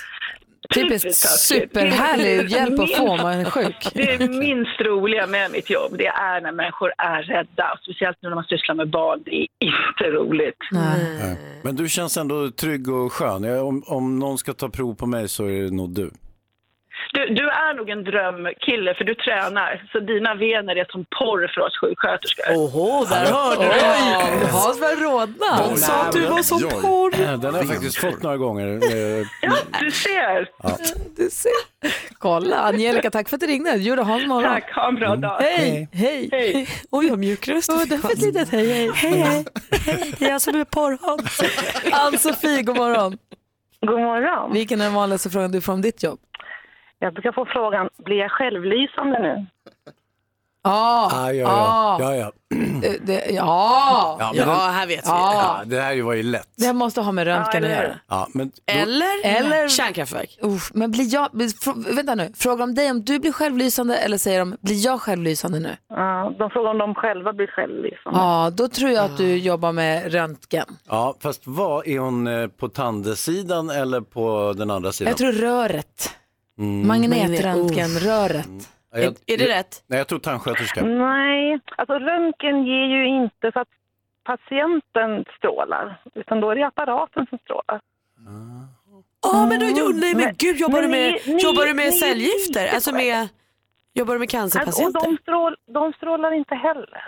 S1: Typiskt superhärlig hjälp att få om man är sjuk.
S9: Det är minst roliga med mitt jobb, det är när människor är rädda. Speciellt nu när man sysslar med barn, det är inte roligt.
S2: Eh, Men du känns ändå trygg och skön. Jag, om, om någon ska ta prov på mig så är det nog du.
S9: Du, du är nog en drömkille för du tränar, så dina vener är som porr för oss sjuksköterskor.
S3: Oho,
S2: där hörde du.
S9: Oj!
S1: Hans börjar rodna.
S9: Hon sa att du var så porr.
S2: Eh, Den har jag faktiskt fått några gånger. Eh,
S1: Mm.
S9: Du ser.
S2: Ja.
S1: Du ser. Kolla, Angelica, tack för att du ringde. Du gjorde Hans morgon.
S9: Tack, ha en bra dag.
S1: Hej, Mm. hej. Oj, vad mjuk röst oh, Det var ett litet hej, hej. Hej, hej. Det är jag som är porrhans. Ann-Sofie, god morgon.
S11: God morgon.
S1: Vilken är den vanligaste frågan du får om ditt jobb?
S11: Jag brukar få frågan, blir jag självlysande nu?
S1: Ja,
S2: Ah, ja,
S1: ah.
S2: ja. ja, ja.
S1: Det- det- ja. Ja.
S2: det. Det här var ju lätt.
S1: Det här måste ha med röntgen
S2: Ja,
S1: att
S2: eller
S1: göra.
S2: Ja, men då-
S1: eller
S3: kärnkraftverk.
S1: Uff, men blir jag, blir- fr- vänta nu, fråga om dig om du blir självlysande eller säger de, blir jag självlysande nu?
S11: Ja, de frågar om de själva blir självlysande.
S1: Ja, då tror jag att du jobbar med röntgen.
S2: Ja, fast vad är hon eh, på tandesidan eller på den andra sidan?
S1: Jag tror röret.
S2: Mm.
S1: Magnetröntgen, röret.
S2: Ja, jag-
S1: Är- är det
S2: jag-
S1: rätt?
S2: Nej, jag tror tandsköterska.
S9: Mm.
S11: Nej, alltså röntgen ger ju inte för att patienten strålar, utan då är det apparaten som strålar.
S3: Ja, men då gjorde nej, men
S11: Men-
S3: gud, jobbar du
S11: men
S3: med,
S11: ni- ni-
S3: jobbar du med
S11: ni-
S3: cellgifter? Alltså med, jobbar du med
S11: Alltså, och
S3: cancerpatienter?
S11: de, strål, de strålar inte heller.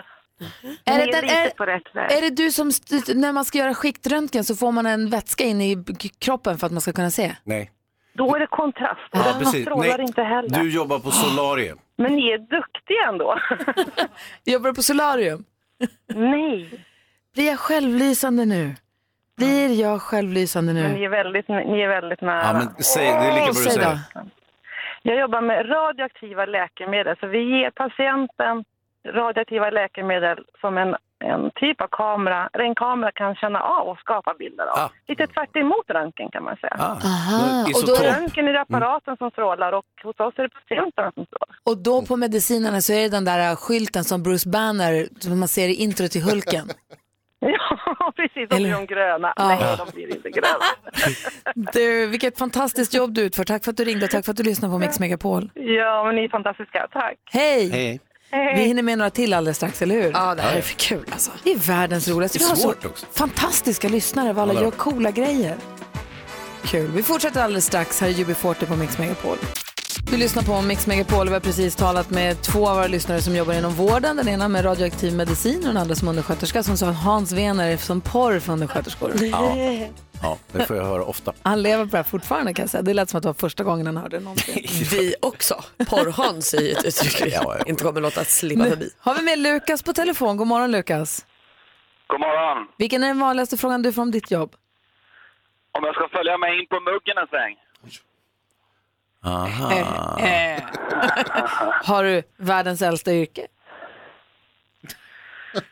S1: Är
S11: Ni
S1: det, den,
S11: lite
S1: är,
S11: på rätt väg.
S1: är det du som, st- när man ska göra skiktröntgen så får man en vätska in i b- kroppen för att man ska kunna se?
S2: Nej.
S11: Då är det kontrast.
S2: Ja,
S11: de
S2: precis.
S11: strålar
S2: Nej,
S11: inte heller.
S2: Du jobbar på solarie.
S11: Men ni är duktiga ändå.
S1: Jobbar du på solarium?
S11: Nej.
S1: Blir jag självlysande nu? Blir jag självlysande
S11: Men ni
S1: nu?
S11: är väldigt, ni är väldigt nära.
S2: Ja, men säg, det är lika bra
S1: Åh,
S2: du
S1: Mm. säg
S2: säger.
S11: Jag jobbar med radioaktiva läkemedel, så vi ger patienten radioaktiva läkemedel som en, en typ av kamera, där en kamera kan känna av och skapa bilder
S2: Ah.
S11: av. Lite tvärt emot röntgen kan man säga.
S1: Aha, och
S11: Och
S1: då,
S11: då är röntgen är det apparaten som strålar och hos oss är det patienterna som strålar.
S1: och då på medicinerna så är det den där äh, skylten som Bruce Banner, som man ser i intro till Hulken.
S11: Ja, precis. De blir de gröna.
S1: Ja.
S11: Nej, de blir inte gröna.
S1: Du, vilket fantastiskt jobb du utför. Tack för att du ringde och tack för att du lyssnade på Mix Megapol.
S11: Ja, men ni är fantastiska. Tack.
S1: Hej!
S2: Hej.
S1: Vi hinner med några till alldeles strax, eller hur?
S3: Ja, det här är för kul alltså.
S1: Det är världens roligaste.
S3: Det är
S1: Vi har
S3: svårt
S1: så
S3: också.
S1: fantastiska lyssnare, vad alla
S3: Ja, det
S1: gör
S3: är.
S1: coola grejer. Kul. Vi fortsätter alldeles strax. Här är UB40 på Mix Megapol. Du lyssnar på Mix Megapol. Vi har precis talat med två av våra lyssnare som jobbar inom vården. Den ena med radioaktiv medicin och den andra som undersköterska som sa att Hans vener är som porr för undersköterskor.
S2: Ja. ja, det får jag höra ofta.
S1: Han lever på det här fortfarande kan jag säga. Det lät som att det var första gången han hörde det någonsin.
S3: Vi också. Porrhans är ju ett uttryck vi inte kommer låta slippa
S1: Nu
S3: förbi.
S1: har vi med Lukas på telefon. God morgon Lukas.
S12: God morgon.
S1: Vilken är den vanligaste frågan du får om ditt jobb?
S12: Om jag ska följa med in på muggen en sväng?
S2: Aha.
S1: Eh, Har du världens äldsta yrke?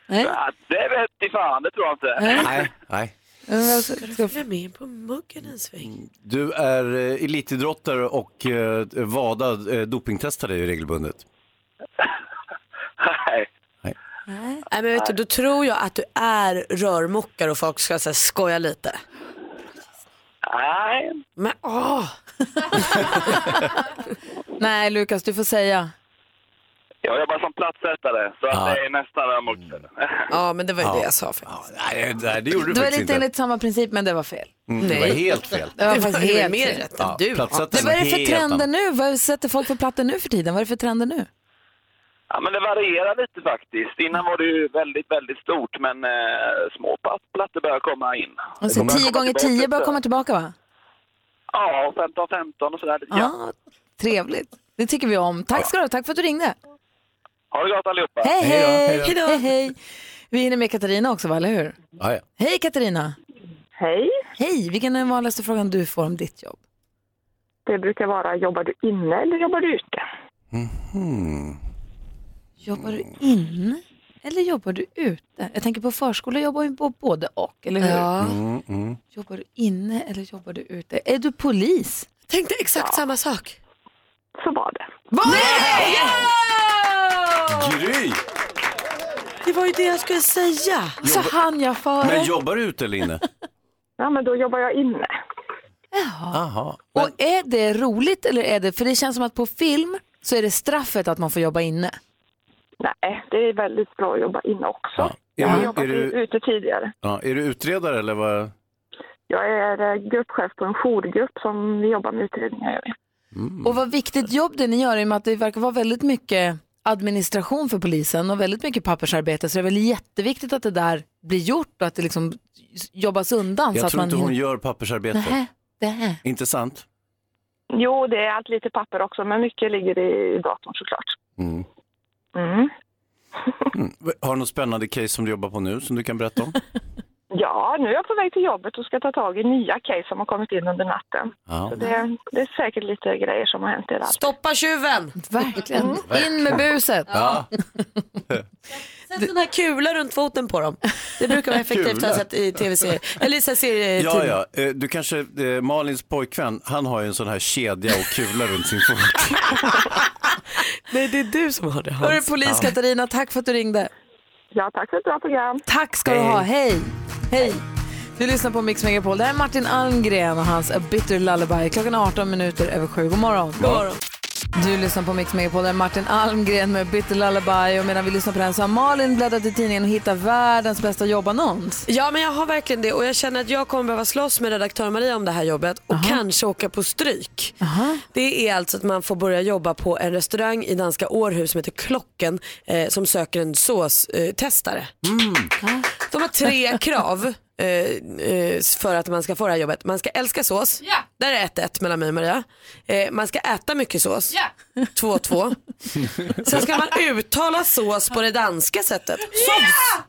S1: Nej.
S12: Ja, det vet i fan, det tror jag inte.
S2: Nej, nej.
S1: Ska
S3: du följa med in på muggen en sväng?
S2: Du är eh, elitidrottare och eh, VADA eh, dopingtestare ju regelbundet.
S12: Nej.
S3: Nej, men vet du, då tror jag att du är rörmokare och folk ska så här, skoja lite.
S12: Nej.
S3: Men åh!
S1: Nej, Lukas, du får säga.
S12: Jag jobbar som plattsättare, så att det är nästan rörmokare.
S3: Ja, men det var ju
S2: Ja.
S3: det jag sa faktiskt.
S2: Ja, nej, nej, det gjorde du,
S1: Det var
S2: faktiskt
S1: lite
S2: inte.
S1: enligt samma princip, men det var fel.
S2: Mm, det var helt fel.
S1: Det var
S3: Det var
S1: faktiskt
S3: ju
S1: helt
S3: mer
S1: fel.
S3: rätt än Ja, du.
S2: plattsättaren
S1: Vad är det för
S2: helt
S1: trender
S2: annan.
S1: nu? Vad sätter folk för plattor nu för tiden? Vad är det för trender nu?
S12: Ja, men det varierar lite faktiskt. Innan var det ju väldigt, väldigt stort, men eh, små platt- plattor börjar komma in.
S1: Alltså, 10 gånger 10 bör komma tillbaka, va?
S12: Ja, 15-15 och sådär. lite
S1: Ja.
S12: grann.
S1: Trevligt. Det tycker vi om. Tack ska du ha. Tack för att du ringde.
S12: Ha det gott allihopa!
S1: Hej, hej! Hej, hej. Vi hinner med Katarina också, va? Eller hur?
S2: Ja, ja.
S1: Hej, Katarina!
S13: Hej.
S1: Hej! Vilken är den vanligaste frågan du får om ditt jobb?
S13: Det brukar vara, jobbar du inne eller jobbar du ute?
S2: Hmm.
S1: Jobbar du inne eller jobbar du ute? Jag tänker på förskola jobbar ju på både och, eller hur?
S3: Ja.
S2: Mm, mm.
S1: Jobbar du inne eller jobbar du ute? Är du polis?
S3: Jag tänkte exakt samma sak.
S13: Så var det.
S2: Gry!
S3: Det var ju det jag skulle säga.
S1: Så han jag före.
S2: Men jobbar du ute eller inne?
S13: Ja, men då jobbar jag inne.
S2: Aha.
S1: Och är det roligt eller är det, för det känns som att på film så är det straffet att man får jobba inne.
S13: Nej, det är väldigt bra att jobba inne också. Jag har
S2: Är,
S13: jobbat
S2: du, är, du,
S13: ute tidigare.
S2: ja, är du utredare eller vad?
S13: Jag är eh, gruppchef på en jourgrupp som vi jobbar med utredningar. gör vi.
S2: Mm.
S1: Och vad viktigt jobb det ni gör i och med att det verkar vara väldigt mycket administration för polisen och väldigt mycket pappersarbete så det är väl jätteviktigt att det där blir gjort och att det liksom jobbas undan. så
S2: Jag
S1: att
S2: tror
S1: man
S2: inte hon
S1: hinner-
S2: gör pappersarbete.
S1: Nähä, det
S2: Inte sant?
S13: Jo, det är allt lite papper också, men mycket ligger i datorn såklart.
S2: Mm.
S13: Mm.
S2: Har du något spännande case som du jobbar på nu som du kan berätta om?
S13: Ja, nu är jag på väg till jobbet och ska ta tag i nya case som har kommit in under natten.
S2: Ja.
S13: Så det, det är säkert lite grejer som har hänt i det här.
S3: Stoppa tjuven!
S1: Verkligen. Mm. In med buset.
S2: Ja.
S3: Sätt sådana här kulor runt foten på dem. Det brukar vara effektivt
S2: Kulor?
S3: har jag sett i tv-serier. Eller i så här serier.
S2: Ja, ja. Eh, Du kanske, eh, Malins pojkvän, han har ju en sån här kedja och kula runt sin fot.
S3: Nej, det är du som har det
S1: Hörru polis Katarina, tack för att du ringde.
S13: Ja, tack för ett bra program.
S1: Tack ska du
S13: Hej.
S1: ha, hej. Hej. Du lyssnar på Mix Megapol. Det här är Martin Almgren och hans A Bitter Lullaby. Klockan är 18 minuter över sju. God morgon.
S3: God morgon.
S1: Du lyssnar på Mix Megapol. Det är Martin Almgren med A Bitter Lullaby. Och medan vi lyssnar på den så har Malin bläddrat i tidningen och hittat världens bästa jobbannons.
S3: Ja men jag har verkligen det och jag känner att jag kommer behöva slåss med redaktör Maria om det här jobbet och kanske åka på stryk. Det är alltså att man får börja jobba på en restaurang i danska Århus som heter Klocken eh, som söker en såstestare. Eh, testare. De har tre krav eh, eh, för att man ska få det här jobbet. Man ska älska sås, där är 1-1 mellan mig och Maria. Eh, man ska äta mycket sås, 2-2. Sen ska man uttala sås på det danska sättet. Sås!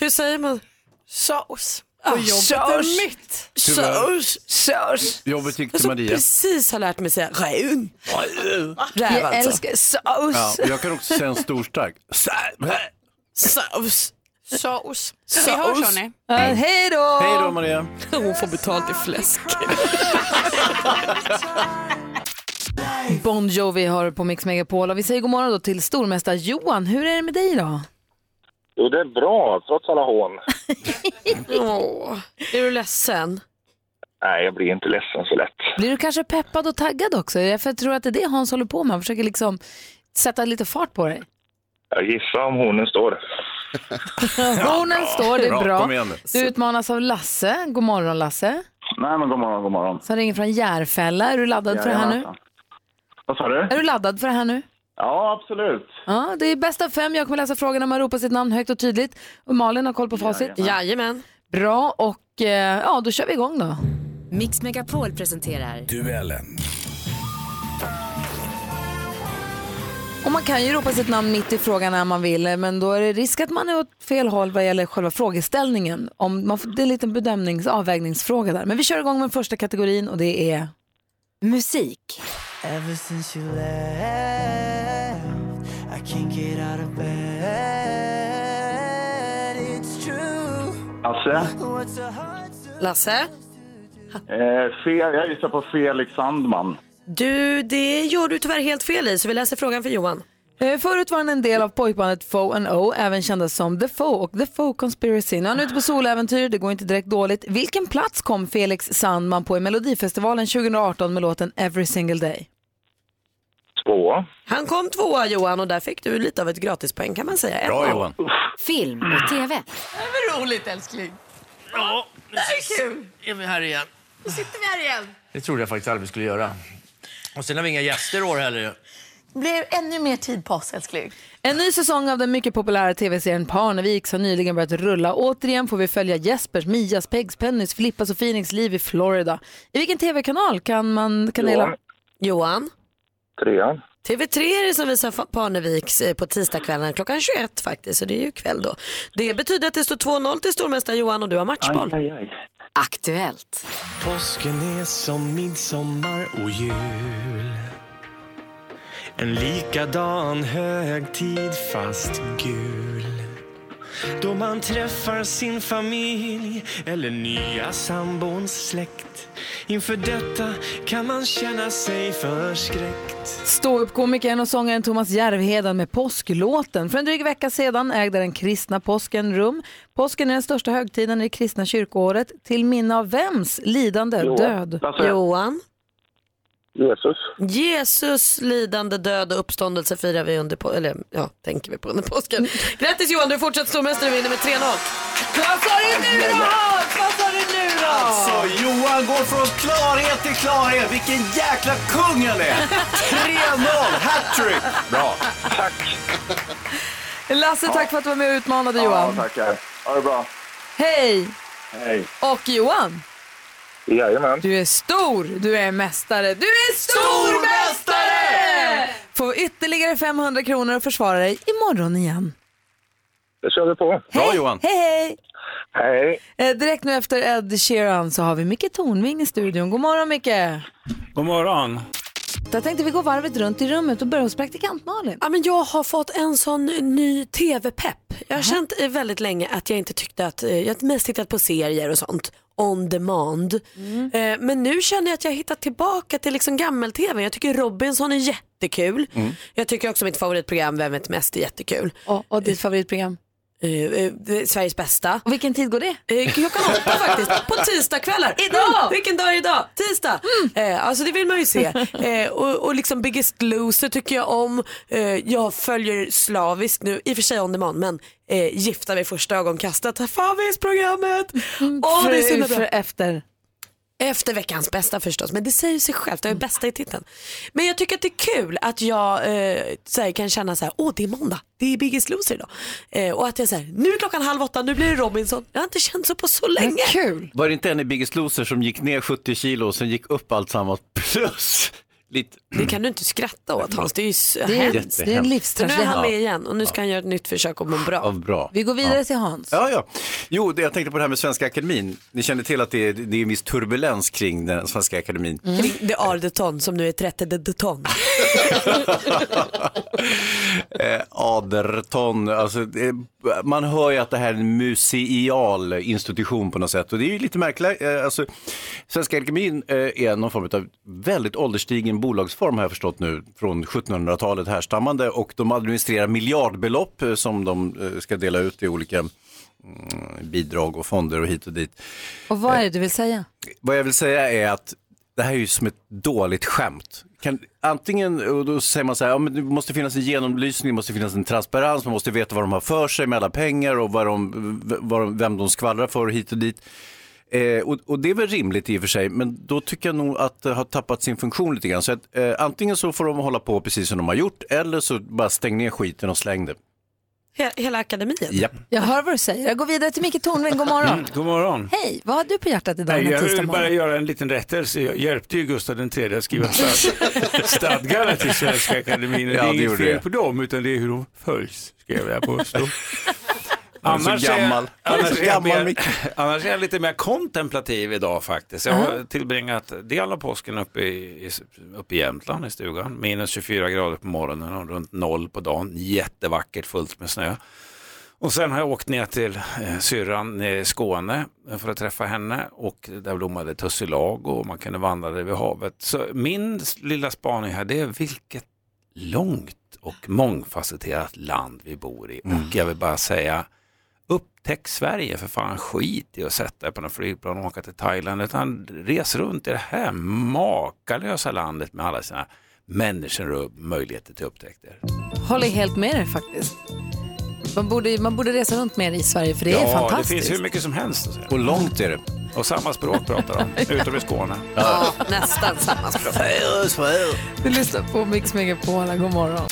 S3: Hur säger man? Sås.
S7: Och jobbet är mitt.
S3: Sås. Sås.
S2: Jobbet gick
S3: Jag
S2: till
S3: som
S2: Maria.
S3: precis har lärt mig säga räv. Räv
S1: Jag
S3: alltså.
S1: älskar sås.
S2: Ja, och jag kan också säga en stor stark. Så här.
S3: Sås.
S7: Sås. Vi hörs hörni.
S1: Ja, hej då!
S2: Hej då Maria.
S3: Hon får betalt i fläsk.
S1: Bon Jovi har på Mix Megapol. Och vi säger god morgon då till stormästare Johan. Hur är det med dig idag?
S5: Jo, det är bra, trots alla hån.
S3: Åh, är du ledsen?
S5: Nej, jag blir inte ledsen så lätt.
S1: Blir du kanske peppad och taggad också? Jag för- tror att det är det Hans håller på med. Han försöker liksom sätta lite fart på dig.
S5: Jag gissar om hornen står.
S1: Hornen står, det är
S5: bra.
S1: bra.
S5: Kom igen nu.
S1: Du utmanas av Lasse. God morgon Lasse.
S14: Nej, men god morgon, god morgon.
S1: Som ringer från Järfälla. Är du laddad för det här nu?
S14: Jajamensan. Vad sa du?
S1: Är du laddad för det här nu?
S14: Ja, absolut.
S1: Ja, det är bäst av fem. Jag kommer läsa frågorna. Man ropar sitt namn högt och tydligt. Och Malin har koll på facit.
S3: Jajamän.
S1: Bra, och eh, ja, då kör vi igång då.
S8: Mix Megapol presenterar
S15: Duellen.
S1: Och man kan ju ropa sitt namn mitt i frågan när man vill, men då är det risk att man är åt fel håll vad gäller själva frågeställningen. Om man får, det är en liten bedömnings avvägningsfråga där. Men vi kör igång med första kategorin och det är musik.
S15: Ever since you left, I can't get out of bed. It's true.
S14: Lasse?
S15: What's a heart
S3: Lasse?
S14: Eh, fel, jag gissar på Felix Sandman.
S3: Du, det gör du tyvärr helt fel i så vi läser frågan för Johan.
S1: Eh, Förut var han en del av pojkbandet Foe and O, även kända som The Foe och The Foe Conspiracy. Nu är han ute på soläventyr, det går inte direkt dåligt. Vilken plats kom Felix Sandman på i Melodifestivalen 2018 med låten Every Single Day?
S3: Tvåa. Han kom tvåa Johan och där fick du lite av ett gratispoäng kan man säga.
S2: Bra Johan.
S8: film och tv.
S16: Det var roligt älskling. Ja, det här är kul. är vi här igen. Nu sitter vi här igen.
S17: Det trodde jag faktiskt aldrig vi skulle göra. Och sen har vi inga gäster i år heller.
S16: Det blir ännu mer tid på oss älskling.
S1: En ny säsong av den mycket populära tv-serien Parnevik har nyligen börjat rulla. Återigen får vi följa Jespers, Mias, Pegs, Pennys, Filippas och Phoenix liv i Florida. I vilken tv-kanal kan man kanela?
S3: Johan. Johan.
S5: Trean.
S3: TV3 är det som visar Fa- Parneviks eh, på tisdagskvällen klockan 21 faktiskt, så det är ju kväll då. Det betyder att det står 2-0 till stormästaren Johan och du har matchboll.
S14: Aj, aj, aj.
S8: Aktuellt.
S15: Påsken är som midsommar och jul En likadan högtid fast gul
S18: Då man träffar sin familj eller nya sambons släkt. Inför detta kan man känna sig förskräckt.
S1: Ståuppkomikern och sångaren Thomas Järvheden med påsklåten. För en dryg vecka sedan ägde den kristna påsken rum. Påsken är den största högtiden i det kristna kyrkoåret. Till minne av vems lidande,
S3: Johan.
S1: död?
S3: Lasse. Johan.
S5: Jesus.
S3: Jesus lidande, död och uppståndelse firar vi under på, eller ja, tänker vi på under påsken. Grattis Johan, du är fortsatt stormästare och vinner med 3-0. Vad sa du nu då? Vad sa du nu då?
S2: Alltså Johan går från klarhet till klarhet. Vilken jäkla kung han är! 3-0, hattrick! Bra.
S1: Lasse, tack för att du var med och utmanade Johan.
S14: Ja, tackar. Ha det bra.
S1: Hej!
S14: Hej.
S1: Och Johan,
S14: Jajamän.
S1: du är stor, du är mästare, du är stormästare! Får ytterligare 500 kronor och försvara dig imorgon igen.
S5: Det kör vi på.
S2: Bra Johan.
S1: Hej, hej!
S5: Hej.
S1: Eh, direkt nu efter Ed Sheeran så har vi Micke Tornving i studion. God morgon Micke!
S19: God morgon.
S1: Jag tänkte vi går varvet runt i rummet och börjar hos praktikant Malin.
S3: Ja, men jag har fått en sån ny tv-pepp. Jag har känt eh, väldigt länge att jag inte tyckte att, eh, jag har mest tittat på serier och sånt on demand. Eh, Men nu känner jag att jag har hittat tillbaka till liksom gammel-tv. Jag tycker Robinson är jättekul.
S1: Mm.
S3: Jag tycker också mitt favoritprogram Vem vet mest är jättekul. Eh,
S1: Och, och ditt favoritprogram?
S3: Sveriges bästa. Eh,
S1: Och vilken tid går det?
S3: Klockan åtta faktiskt, på tisdagskvällar.
S1: Idag! Mm.
S3: Vilken dag är det idag? Tisdag! Eh, alltså det vill man ju se. Eh, och, och liksom Biggest Loser tycker jag om. Eh, jag följer slaviskt nu, i och för sig on demand, men eh, Gifta vid första ögonkastet. Favvisprogrammet! Åh, det är så himla bra.
S1: Mm. för efter.
S3: Efter veckans bästa förstås, men det säger sig självt, det är bästa i titeln. Men jag tycker att det är kul att jag eh, så här, kan känna så här, åh det är måndag, det är Biggest Loser idag. Eh, och att jag säger, nu är klockan halv åtta, nu blir det Robinson. Jag har inte känt så på så länge.
S1: Kul.
S2: Var det inte en i Biggest Loser som gick ner 70 kilo och sen gick upp allt samman plus lite...
S3: Det kan du inte skratta åt Hans, det är ju s-
S2: Det är-
S3: hemskt.
S2: det är en livstragedi.
S3: Nu är han med
S2: Ja.
S3: igen och nu ska han göra ett nytt försök och må bra.
S2: Av bra.
S1: Vi går vidare
S2: Ja.
S1: till Hans.
S2: Ja, ja. Jo, det, jag tänkte på det här med Svenska Akademin. Ni känner till att det är, det är en viss turbulens kring den Svenska Akademin.
S3: Mm. Kring The Ardeton som nu är 30 de Deton.
S2: Eh, Aderton, alltså, det, man hör ju att det här är en museal institution på något sätt och det är ju lite märkligt. Eh, alltså, Svenska Akademin eh, är någon form av väldigt ålderstigen bolagsform har jag förstått nu från 1700-talet härstammande och de administrerar miljardbelopp eh, som de eh, ska dela ut i olika mm, bidrag och fonder och hit och dit.
S1: Och vad är det du vill säga?
S2: Vad jag vill säga är att det här är ju som ett dåligt skämt. Kan, antingen, och då säger man så här, ja, men det måste finnas en genomlysning, det måste finnas en transparens, man måste veta vad de har för sig med alla pengar och vad de, vad de, vem de skvallrar för hit och dit. Eh, och, och det är väl rimligt i och för sig, men då tycker jag nog att det har tappat sin funktion lite grann. Så att, eh, antingen så får de hålla på precis som de har gjort, eller så bara stäng ner skiten och släng det.
S3: He- Hela akademin.
S2: Japp.
S1: Jag hör vad du säger. Jag går vidare till Micke Tornving. God morgon.
S19: Mm, god morgon.
S1: Hej, vad har du på hjärtat idag
S19: Nej,
S1: den här
S19: jag
S1: tisdag
S19: vill bara
S1: morgon?
S19: göra en liten rättelse. Jag hjälpte ju Gustav den tredje att skriva stad- stadgarna till Svenska Akademien. Det
S2: Ja,
S19: är
S2: det
S19: inget
S2: gjorde
S19: fel
S2: jag.
S19: på dem, utan det är hur de följs, skrev jag på. Så.
S2: Han är så
S19: är-
S2: gammal. Han är så
S19: annars, är jag
S2: gammal,
S19: mer,
S2: Micke.
S19: annars är jag lite mer kontemplativ idag faktiskt. Jag har tillbringat del av påsken uppe i, i, uppe i Jämtland i stugan. Minus 24 grader på morgonen och runt noll på dagen. Jättevackert, fullt med snö. Och sen har jag åkt ner till eh, syrran i Skåne eh, för att träffa henne och där blommade tussilago och man kunde vandra där vid havet. Så min s- lilla spaning här det är vilket långt och mångfacetterat land vi bor i.
S2: Mm.
S19: Och jag vill bara säga upptäck Sverige för fan skit i att sätta er på någon flygplan och åka till Thailand utan res runt i det här makalösa landet med alla sina människor och möjligheter till upptäckter.
S1: Håller helt med dig faktiskt. Man borde, man borde resa runt mer i Sverige för det är
S19: ja, det
S1: fantastiskt.
S19: finns hur mycket som helst.
S2: Och långt är det.
S19: Och samma språk pratar de, utom i Skåne.
S1: Ja, nästan samma språk. Du lyssnar på Mix Megapola. God morgon.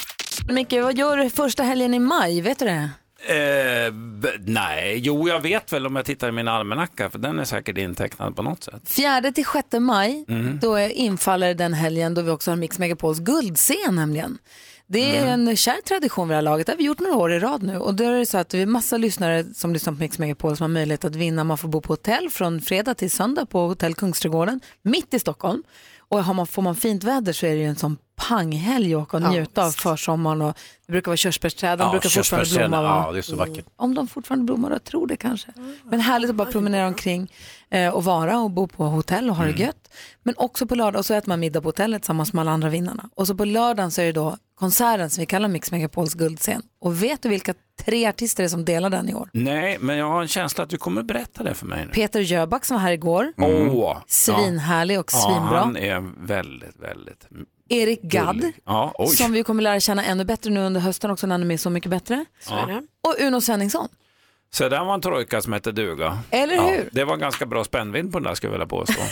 S1: Micke, vad gör du första helgen i maj? Vet du det?
S19: Eh, b- nej, jo jag vet väl om jag tittar i min almanacka för den är säkert intecknad på något sätt.
S1: Fjärde till sjätte maj,
S19: Mm.
S1: då är- infaller den helgen då vi också har Mix Megapols guldscen nämligen. Det är
S2: Mm.
S1: en kär tradition vid det här laget, det har vi gjort några år i rad nu. Och då är det så att vi är massa lyssnare som lyssnar på Mix Megapol som har möjlighet att vinna. Man får bo på hotell från fredag till söndag på Hotell Kungsträdgården, mitt i Stockholm. Och har man, får man fint väder så är det ju en sån panghelg att åka och njuta av försommaren. Och det brukar vara körsbärsträden,
S2: Ja,
S1: brukar fortfarande
S2: körsbärsträden,
S1: blomma. va?
S2: ja, det är så vackert.
S1: Om de fortfarande blommar, jag tror det kanske. Men härligt att bara promenera omkring eh, och vara och bo på hotell och ha
S19: Mm.
S1: det gött. Men också på lördag och så äter man middag på hotellet tillsammans med alla andra vinnarna. Och så på lördagen så är det då konserten som vi kallar Mix Megapols guldscen. Och vet du vilka tre artister det är som delar den i år?
S19: Nej, men jag har en känsla att du kommer berätta det för mig nu.
S1: Peter Jöback som var här igår.
S19: Åh.
S1: Svinhärlig och svinbra.
S19: Ja, han är väldigt, väldigt...
S1: Erik Gadd,
S19: gullig. Ja, oj.
S1: som vi kommer lära känna ännu bättre nu under hösten också när han är med Så mycket bättre. Ah.
S19: Så är det.
S1: Och Uno Svenningsson.
S19: Så där var en trojka som hette duga.
S1: Eller
S19: Ja,
S1: hur?
S19: det var ganska bra spännvidd på den där skulle jag vilja påstå.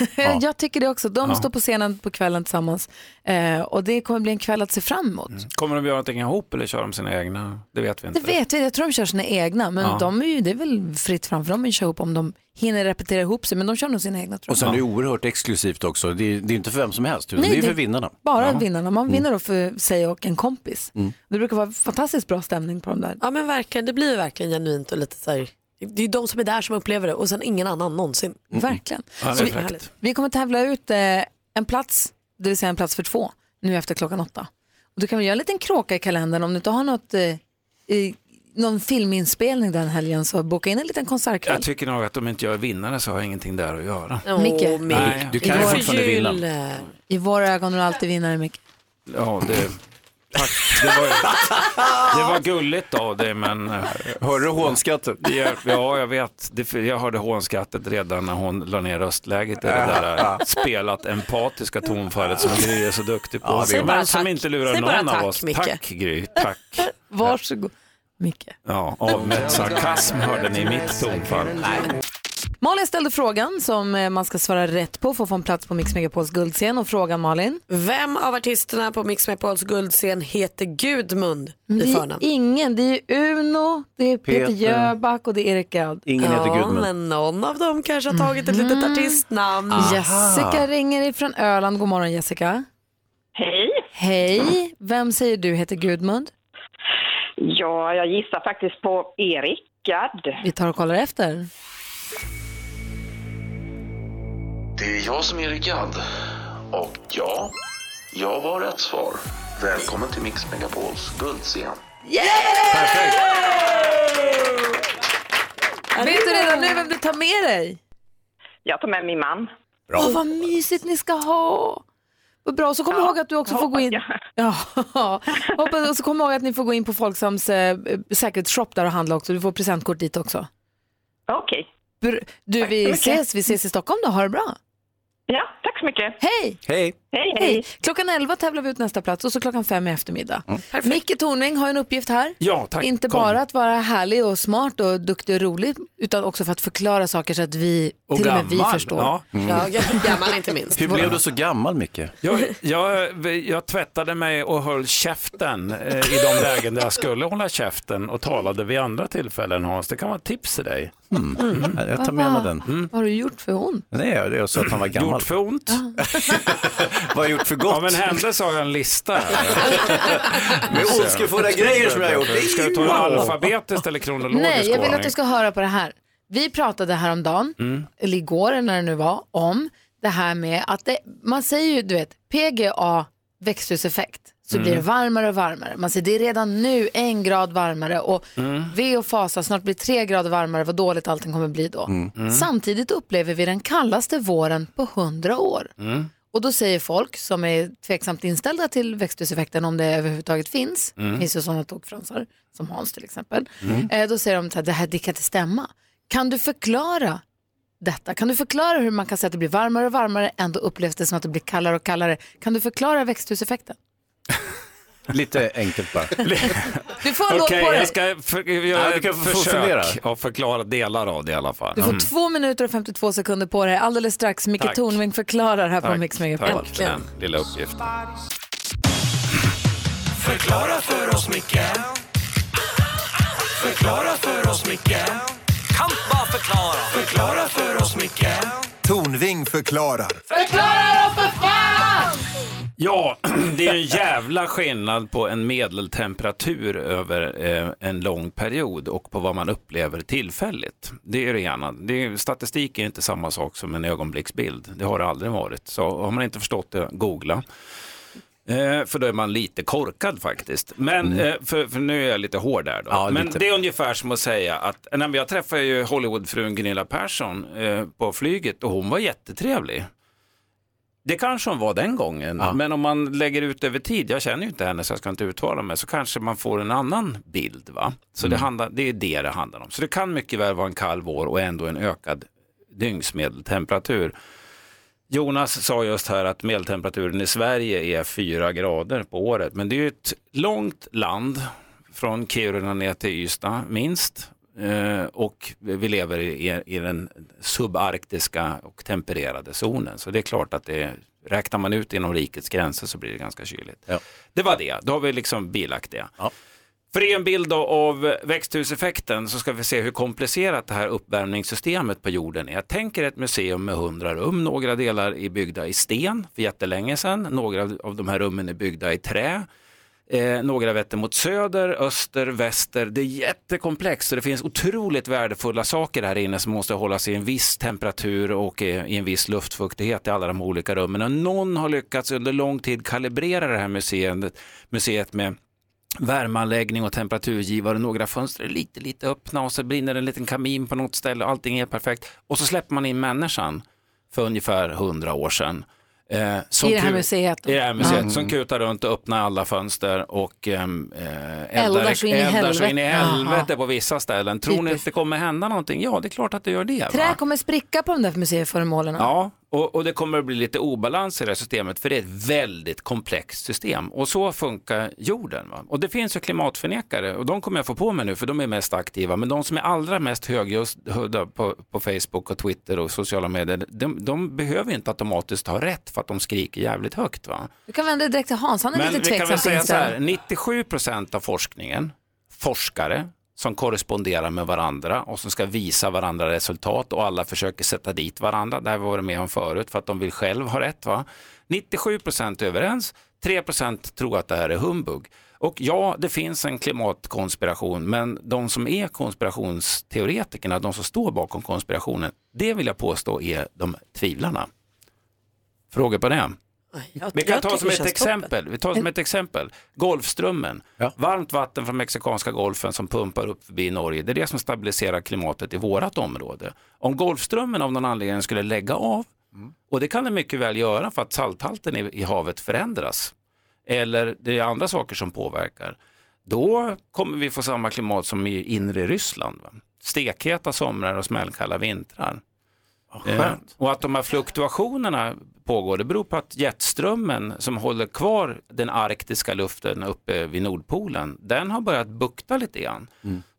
S1: Jag tycker det också. De
S19: Ja.
S1: står på scenen på kvällen tillsammans eh, och det kommer bli en kväll att se fram emot.
S19: Kommer de göra någonting ihop eller kör de sina egna? Det vet vi
S1: Det
S19: inte.
S1: vet vi, jag tror de kör sina egna men
S19: Ja.
S1: de är ju, det är väl fritt fram för dem att köra ihop om de hinner repetera ihop sig men de kör nog sina egna tror
S2: Och sen är det oerhört exklusivt också. Det är, det är inte för vem som helst, utan
S1: Nej,
S2: det är
S1: det-
S2: för vinnarna.
S1: Bara
S2: Ja.
S1: vinnarna, man
S2: Mm.
S1: vinner då för sig och en kompis.
S2: Mm.
S1: Det brukar vara fantastiskt bra stämning på de där.
S3: Ja men verkligen, det blir ju verkligen genuint och lite så här. Det är ju de som är där som upplever det och sen ingen annan någonsin.
S1: Verkligen.
S3: Mm. Ja, det är
S1: Så vi,
S3: fräckt.
S1: vi kommer tävla ut eh, en plats, det vill säga en plats för två, nu efter klockan åtta. Och du kan väl göra en liten kråka i kalendern om du inte har något, eh, i, någon filminspelning den helgen så boka in en liten konsertkväll.
S19: Jag tycker nog att om inte jag är vinnare så har jag ingenting där att göra.
S1: Åh, Micke. Micke.
S19: Nej,
S1: Du kan ju fortfarande
S19: vinna.
S1: eh, I våra ögon är du alltid vinnare Micke.
S19: Ja, det... Tack. Det var, det var gulligt av dig, men... Hörde du hånskrattet? Ja, jag vet. Det, jag hörde hånskrattet redan när hon la ner röstläget i det där eh, spelat empatiska tonfallet som Gry är så duktig på. Ja, det är- men bara som tack. inte lurar Säg bara någon tack, av oss. Micke. Tack, Gry. Tack.
S1: Varsågod.
S19: Ja, avmätt sarkasm hörde ni i mitt tonfall.
S1: Malin ställde frågan som eh, man ska svara rätt på för att få en plats på Mix Megapols guldscen och frågan Malin?
S3: Vem av artisterna på Mix Megapols guldscen heter Gudmund
S1: Det
S20: Mm.
S3: i
S1: är
S3: förnamn?
S1: ingen, det är Uno, det är Peter,
S3: Peter.
S1: Jöback och det är Erik Gadd.
S3: ja, men någon av dem kanske har tagit ett
S1: Mhm.
S3: litet artistnamn.
S1: Jessica ringer ifrån Öland. God morgon Jessica.
S13: Hej.
S1: Hej. Vem säger du heter Gudmund?
S13: Ja, jag gissar faktiskt på Erik Gadd.
S1: Vi tar och kollar efter.
S21: Det är jag som är Erik Gadd. Och ja, jag var rätt svar. Välkommen till Mix Megapols guldscen.
S1: Vet du redan nu vem du tar med dig?
S13: Jag tar med min man.
S1: Åh, vad mysigt ni ska ha. Vad bra, och så kom ihåg att du också får gå in. Ja, hoppas, och så kom ihåg att ni får gå in på Folksams eh, säkerhetsshop där och handla också. Du får presentkort dit också.
S13: Okej.
S1: Br- Du,
S13: Tack så
S1: vi
S13: mycket.
S1: ses, vi ses i Stockholm då. Ha det bra.
S13: Ja, tack så mycket.
S1: Hej!
S2: Hej!
S13: Hej,
S1: Hej. Klockan 11 tävlar vi ut nästa plats och så klockan 5 i eftermiddag. Micke Tornving har en uppgift här.
S19: Mm. Ja, tack.
S1: Inte
S19: Kom.
S1: bara att vara härlig och smart och duktig och rolig utan också för att förklara saker så att vi,
S19: Och
S1: till och med vi
S19: gammal,
S1: förstår.
S19: ja. Mm.
S3: Ja, gam- gammal inte minst.
S2: Hur blev du så gammal, Micke?
S19: Jag, jag, jag tvättade mig och höll käften eh, i de lägen där jag skulle hålla käften och talade vid andra tillfällen Hans. Det kan vara ett tips till dig.
S2: Mm.
S1: Mm.
S19: Mm.
S2: Jag tar med mig den.
S1: Vad har du gjort för ont?
S2: Nej, det är så att han var gammal.
S19: Gjort för ont?
S2: Vad har jag gjort för gott?
S19: Av en händelse har jag en lista här.
S2: Med ondskefulla grejer som jag har gjort.
S19: Ska du ta det
S2: Wow.
S19: alfabetiskt eller kronologiskt?
S1: Nej, jag vill att
S19: ordning?
S1: du ska höra på det här. Vi pratade häromdagen,
S19: Mm.
S1: eller igår eller när det nu var, om det här med att det, man säger ju, du vet, PGA växthuseffekt, så
S22: Mm.
S1: blir det varmare och varmare. Man säger det är redan nu en grad varmare och
S22: Mm.
S1: ve och fasa, snart blir det tre grader varmare, vad dåligt allting kommer bli då.
S22: Mm. Mm.
S1: Samtidigt upplever vi den kallaste våren på hundra år.
S22: Mm.
S1: Och då säger folk som är tveksamt inställda till växthuseffekten om det överhuvudtaget finns,
S22: Mm.
S1: det finns ju sådana tokfransar som Hans till exempel,
S22: Mm.
S1: eh, då säger de att det här det kan inte stämma. Kan du förklara detta? Kan du förklara hur man kan säga att det blir varmare och varmare ändå upplevs det som att det blir kallare och kallare? Kan du förklara växthuseffekten?
S2: Lite enkelt bara.
S1: Du får en låt på dig.
S19: jag ska för, göra
S2: Ja, du kan
S19: ett
S2: få fundera.
S19: försök och förklara delar av det i alla fall.
S1: Du får
S19: Mm.
S1: två minuter och 52 sekunder på dig alldeles strax. Micke
S19: Tack.
S1: Tornving förklarar här på
S19: Tack,
S1: Mix
S19: tack
S1: Megapol.
S19: för den lilla uppgiften.
S10: Förklara för oss, Micke. Förklara för oss, Micke. Kan bara förklara. Förklara för oss, Micke. Tonving förklarar.
S1: Förklara då för fan!
S19: Ja, det är en jävla skillnad på en medeltemperatur över eh, en lång period och på vad man upplever tillfälligt. Det är det ena. Det är, statistik är inte samma sak som en ögonblicksbild. Det har det aldrig varit. Så har man inte förstått det, googla. Eh, för då är man lite korkad faktiskt. Men, eh, för, för nu är jag lite hård där då. Men
S2: lite.
S19: det är ungefär som att säga att, nej, men jag träffade ju Hollywoodfrun Gunilla Persson eh, på flyget och hon var jättetrevlig. Det kanske hon var den gången, men om man lägger ut över tid, jag känner ju inte henne så jag ska inte uttala mig, så kanske man får en annan bild. va? Så det, handlar, det är det det handlar om. Så det kan mycket väl vara en kall vår och ändå en ökad dygnsmedeltemperatur. Jonas sa just här att medeltemperaturen i Sverige är fyra grader på året, men det är ju ett långt land från Kiruna ner till Ystad minst. Eh, och vi lever i, i den subarktiska och tempererade zonen. Så det är klart att det, räknar man ut inom rikets gränser så blir det ganska kyligt. Det var det, då har vi liksom bilagt det. För att ge en bild då av växthuseffekten så ska vi se hur komplicerat det här uppvärmningssystemet på jorden är. Tänk er ett museum med 100 rum, några delar är byggda i sten för jättelänge sedan, några av- av de här rummen är byggda i trä. Eh, några vetter mot söder, öster, väster. Det är jättekomplext och det finns otroligt värdefulla saker här inne som måste hållas i en viss temperatur och eh, i en viss luftfuktighet i alla de olika rummen. Och någon har lyckats under lång tid kalibrera det här museet, museet med värmeanläggning och temperaturgivare, några fönster är lite, lite öppna och så brinner en liten kamin på något ställe och allting är perfekt. Och så släpper man in människan för ungefär 100 år sedan. eh, som
S1: I det här
S19: kul-
S1: museet då?
S19: I det här museet
S1: Ja.
S19: som kutar runt och öppnar alla fönster och ehm, eh, eldar,
S1: Eldar så in i
S19: eldar så in i
S1: helvete.
S19: helvete på vissa ställen. Tror ni att det kommer hända någonting? Ja, det är klart att det gör det. va?
S1: Trä kommer spricka på de där museiföremålen.
S19: Ja, och, och det kommer att bli lite obalans i det här systemet för det är ett väldigt komplext system och så funkar jorden. Va? Och det finns ju klimatförnekare och de kommer jag få på mig nu för de är mest aktiva men de som är allra mest högljudda på, på Facebook och Twitter och sociala medier de, de behöver inte automatiskt ha rätt för att de skriker jävligt högt. Va?
S1: Du kan vända dig direkt till Hans, han är
S19: Men
S1: lite
S19: vi kan väl
S1: tveksam
S19: säga så här,
S1: inställd.
S19: 97 procent av forskningen, forskare som korresponderar med varandra och som ska visa varandra resultat och alla försöker sätta dit varandra. Det här var det med om förut för att de vill själv ha rätt. Va? 97 procent är överens, 3 procent tror att det här är humbug. Och ja, det finns en klimatkonspiration, men de som är konspirationsteoretikerna, de som står bakom konspirationen, det vill jag påstå är de tvivlarna. Frågor på det? Vi kan ta som ett exempel. Vi tar som ett exempel. Golfströmmen. Varmt vatten från mexikanska golfen som pumpar upp förbi Norge. Det är det som stabiliserar klimatet i vårat område. Om Golfströmmen av någon anledning skulle lägga av, och det kan den mycket väl göra för att salthalten i, i havet förändras, eller det är andra saker som påverkar, då kommer vi få samma klimat som i inre Ryssland. Va? Stekheta somrar och smällkalla vintrar. Eh, och att de här fluktuationerna pågår, det beror på att jetströmmen som håller kvar den arktiska luften uppe vid Nordpolen, den har börjat bukta lite grann.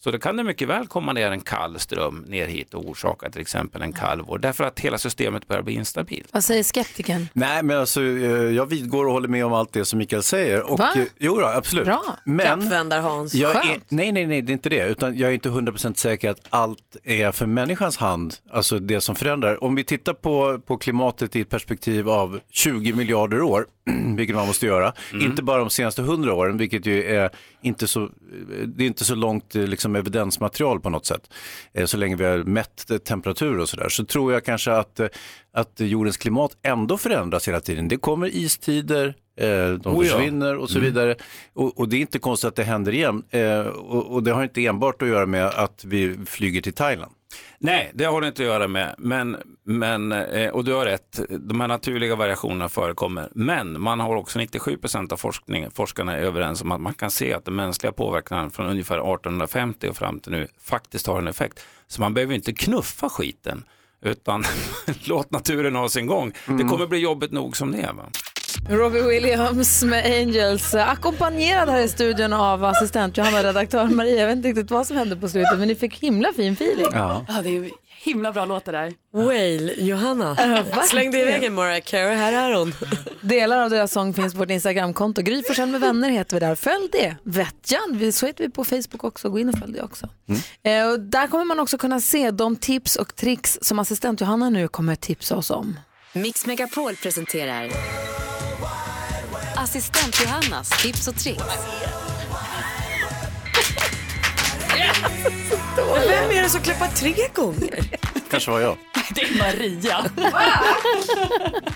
S19: Så då kan det mycket väl komma ner en kall ström ner hit och orsaka till exempel en kall vår, därför att hela systemet börjar bli instabilt.
S1: Vad säger skeptikern?
S2: Nej, men alltså, eh, jag vidgår och håller med om allt det som Mikael säger. Och,
S1: Va?
S2: eh, Jo, då, absolut.
S1: Bra.
S2: Men
S1: Hans.
S2: jag är,
S1: Skönt.
S2: nej, nej, nej, det är inte det. Utan jag är inte 100% säker att allt är för människans hand, alltså det som förändrar. Om vi tittar på, på klimatet i ett perspektiv av 20 miljarder år, vilket man måste göra, inte bara de senaste 100 åren, vilket ju är inte så, det är inte så långt eh, liksom, evidensmaterial på något sätt, eh, så länge vi har mätt eh, temperatur och sådär, så tror jag kanske att, eh, att jordens klimat ändå förändras hela tiden. Det kommer istider, eh, de
S19: Oh ja.
S2: försvinner och så
S19: Mm.
S2: vidare. Och, och det är inte konstigt att det händer igen. Eh, och, och det har inte enbart att göra med att vi flyger till Thailand.
S19: Nej, det har det inte att göra med. Men, men, eh, och du har rätt, de här naturliga variationerna förekommer. Men man har också 97 procent av forskningen, forskarna är överens om att man kan se att den mänskliga påverkan från ungefär 1850 och fram till nu faktiskt har en effekt. Så man behöver inte knuffa skiten, utan låt naturen ha sin gång. Det kommer bli jobbigt nog som det är. Va?
S1: Robbie Williams med Angels, eh, ackompanjerad här i studion av assistent Johanna, redaktör Maria. Jag vet inte riktigt vad som hände på slutet, men ni fick himla fin feeling.
S2: Ja.
S20: Ja, det är ju himla bra låtar där.
S1: Whale, Johanna.
S20: Slängde iväg en
S1: Mariah Carey, här är hon. Delar av deras sång finns på vårt Instagramkonto. Gry Forssell med vänner heter vi där. Följ det, vettjan. Vi- Så heter vi på Facebook också. Gå in och följ det också.
S3: Mm-hmm.
S1: Eh, och där kommer man också kunna se de tips och tricks som assistent Johanna nu kommer tipsa oss om.
S8: Mix Megapol presenterar Assistent Johannas tips och tricks.
S3: Vem är det som klappar tre gånger?
S2: Kanske var jag.
S20: Det är Maria.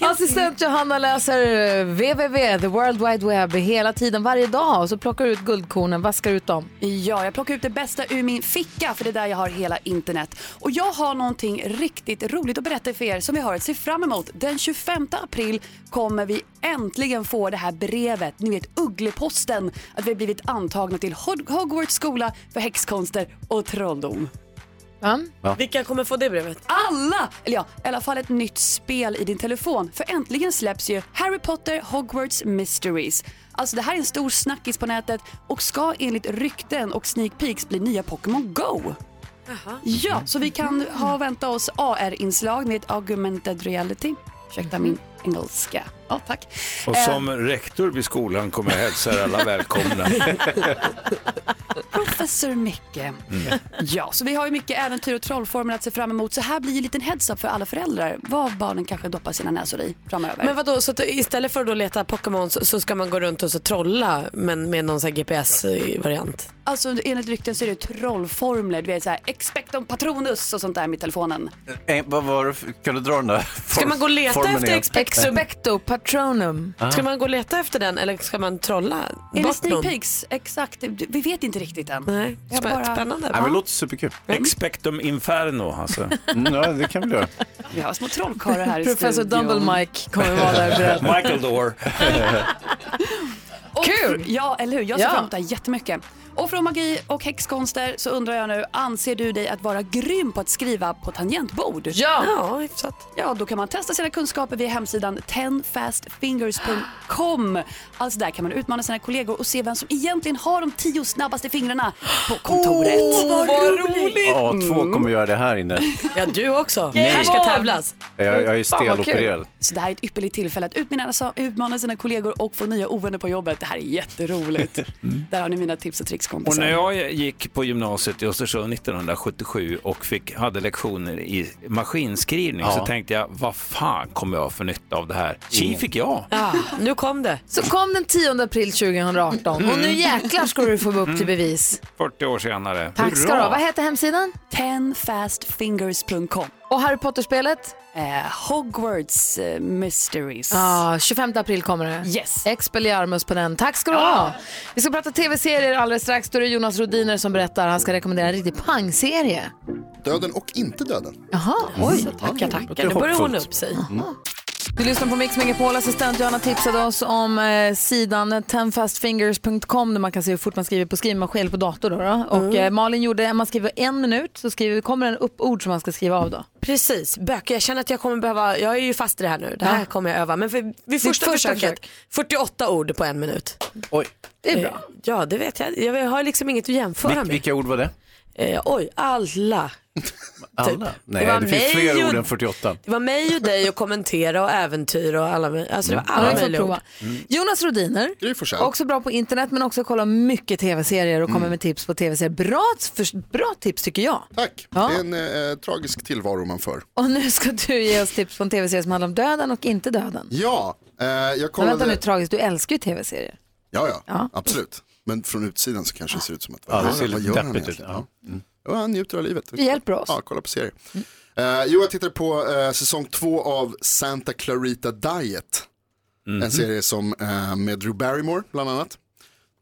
S1: Assistent Johanna läser eh, www, the world wide web, hela tiden, varje dag. Och så plockar du ut guldkornen, vaskar ut dem.
S6: Ja, jag plockar ut det bästa ur min ficka för det är där jag har hela internet. Och jag har någonting riktigt roligt att berätta för er som vi har att se fram emot. Den 25 april kommer vi äntligen få det här brevet, ni vet Uggleposten, att vi har blivit antagna till Hod- Hogwarts skola för häxkonster och trolldom.
S2: Ja.
S6: Vilka kommer få det brevet? Alla! Eller ja, i alla fall ett nytt spel i din telefon. För äntligen släpps ju Harry Potter Hogwarts Mysteries. Alltså det här är en stor snackis på nätet och ska enligt rykten och sneak peeks bli nya Pokémon Go. Ja, så vi kan ha vänta oss AR-inslag med augmented reality. Ursäkta min engelska. Ja, tack.
S19: Och
S6: Eh,
S19: som rektor vid skolan kommer jag hälsa alla välkomna.
S6: Professor Micke. Ja, så vi har ju mycket äventyr och trollformler att se fram emot. Så här blir ju en liten heads-up för alla föräldrar vad barnen kanske doppar sina näsor i framöver.
S3: Men vadå, så att istället för att då leta Pokémons så ska man gå runt och så trolla men med någon sån här GPS-variant?
S6: Alltså enligt rykten så är det trollformler, du vet såhär expectum patronus och sånt där med telefonen.
S2: Eh, vad var det? för- Kan du dra den där? Ska
S1: Expecto patronum.
S2: Ah.
S3: Ska man gå och leta efter den eller ska man trolla
S6: Enligt
S3: bort någon?
S6: sneak peeks, exakt. Vi vet inte riktigt än.
S3: Nej,
S6: Jag bara-
S3: spännande.
S19: men
S6: Ja.
S19: låter superkul. Expectum inferno alltså. Mm. ja, det kan vi göra.
S6: Vi har små trollkarlar här i
S1: Professor
S6: studion.
S1: Dumble Mike kommer vara där beredd.
S19: Michael Door.
S6: Och, Kul! Ja, eller hur? Jag ser
S1: Ja.
S6: fram emot det här jättemycket. Och från magi och häxkonster så undrar jag nu, anser du dig att vara grym på att skriva på tangentbord?
S1: Ja!
S3: Ja, hyfsat.
S6: Ja, då kan man testa sina kunskaper via hemsidan 10fastfingers.com. Alltså där kan man utmana sina kollegor och se vem som egentligen har de tio snabbaste fingrarna på kontoret.
S2: Åh, vad Ja,
S3: Mm.
S2: två kommer göra det här inne.
S3: Ja, du också.
S2: Nej.
S3: Här ska tävlas.
S2: Jag, jag är
S6: Fan, vad kul.
S2: stelopererad.
S6: Så det här är ett ypperligt tillfälle att utmana, alltså, utmana sina kollegor och få nya ovänner på jobbet. Det här är jätteroligt.
S2: Mm.
S6: Där har ni mina tips och tricks
S19: Och
S6: kompisar.
S19: när jag gick på gymnasiet i Östersund 1977 och fick, hade lektioner i maskinskrivning
S2: Ja.
S19: så tänkte jag, vad fan kommer jag för nytta av det här?
S4: Mm.
S19: Tji fick jag.
S6: Ah,
S3: Ja, nu kom det.
S1: Så kom den 10 april 2018 och nu jäklar ska du få upp till bevis.
S19: 40 år senare.
S1: Tack ska du ha. Vad heter hemsidan?
S6: 10fastfingers.com.
S1: Och Harry Potter-spelet?
S6: Eh, Hogwarts eh, Mysteries.
S1: Ja, 25 Ah, april kommer det.
S6: Yes.
S1: Expelliarmus på den. Tack ska du ha. Vi ska prata tv-serier alldeles strax. Då är det Jonas Rodiner som berättar. Han ska rekommendera en riktig pangserie.
S4: Döden och inte döden. Mm.
S1: Jaha, oj.
S4: Tackar,
S3: tackar. Nu börjar hon upp sig.
S1: Du lyssnar på Mix Megapol. Assistent Johanna tipsade oss om eh, sidan tenfastfingers.com där man kan se hur fort man skriver på skrivmaskin eller på dator. Då, då. Och
S3: Mm.
S1: eh, Malin gjorde, man skriver en minut så skriver, kommer en upp ord som man ska skriva av då.
S3: Precis, böcker. Jag känner att jag kommer behöva, jag är ju fast i det här nu. Det här
S1: Ja.
S3: kommer jag öva. Men för, vid
S1: Ditt
S3: första
S1: första
S3: försöket, 48 ord på en minut. Eh,
S2: Oj.
S1: Det är bra.
S3: Ja, det vet jag. Jag har liksom inget att jämföra
S2: Vil-
S3: med.
S2: vilka ord var det?
S3: Eh, oj, alla.
S2: Alla? Nej,
S3: Det
S2: det,
S3: var
S2: finns fler
S3: mig och-
S2: ord än 48.
S3: Det var mig och dig och kommentera och äventyr och alla möj- Alltså det var
S2: Mm.
S3: alla
S2: Ja, vi får
S3: möjliga ord.
S2: prova. Mm.
S1: Jonas Rodiner, också bra på internet men också kollar mycket tv-serier och kommer med tips på tv-serier. Bra, för, bra tips tycker jag.
S4: Tack.
S1: Ja.
S4: Det är en eh, tragisk tillvaro man för.
S1: Och nu ska du ge oss tips på en tv-serie som handlar om döden och inte döden.
S4: Ja, eh, jag
S1: Men
S4: kollade...
S1: vänta nu, tragiskt, du älskar ju tv-serier.
S4: Ja, ja, absolut. Men från utsidan så kanske det ser ut som att
S2: Ja, det ser
S4: vad
S2: lite
S4: gör han
S2: deppigt ut. Mm.
S4: egentligen? Ja. Ja, han njuter av livet.
S1: Det hjälper oss.
S4: Ja, kolla på serier. Eh, jo, jag tittar på eh, säsong två av Santa Clarita Diet. En
S2: Mhm.
S4: serie som eh, med Drew Barrymore bland annat.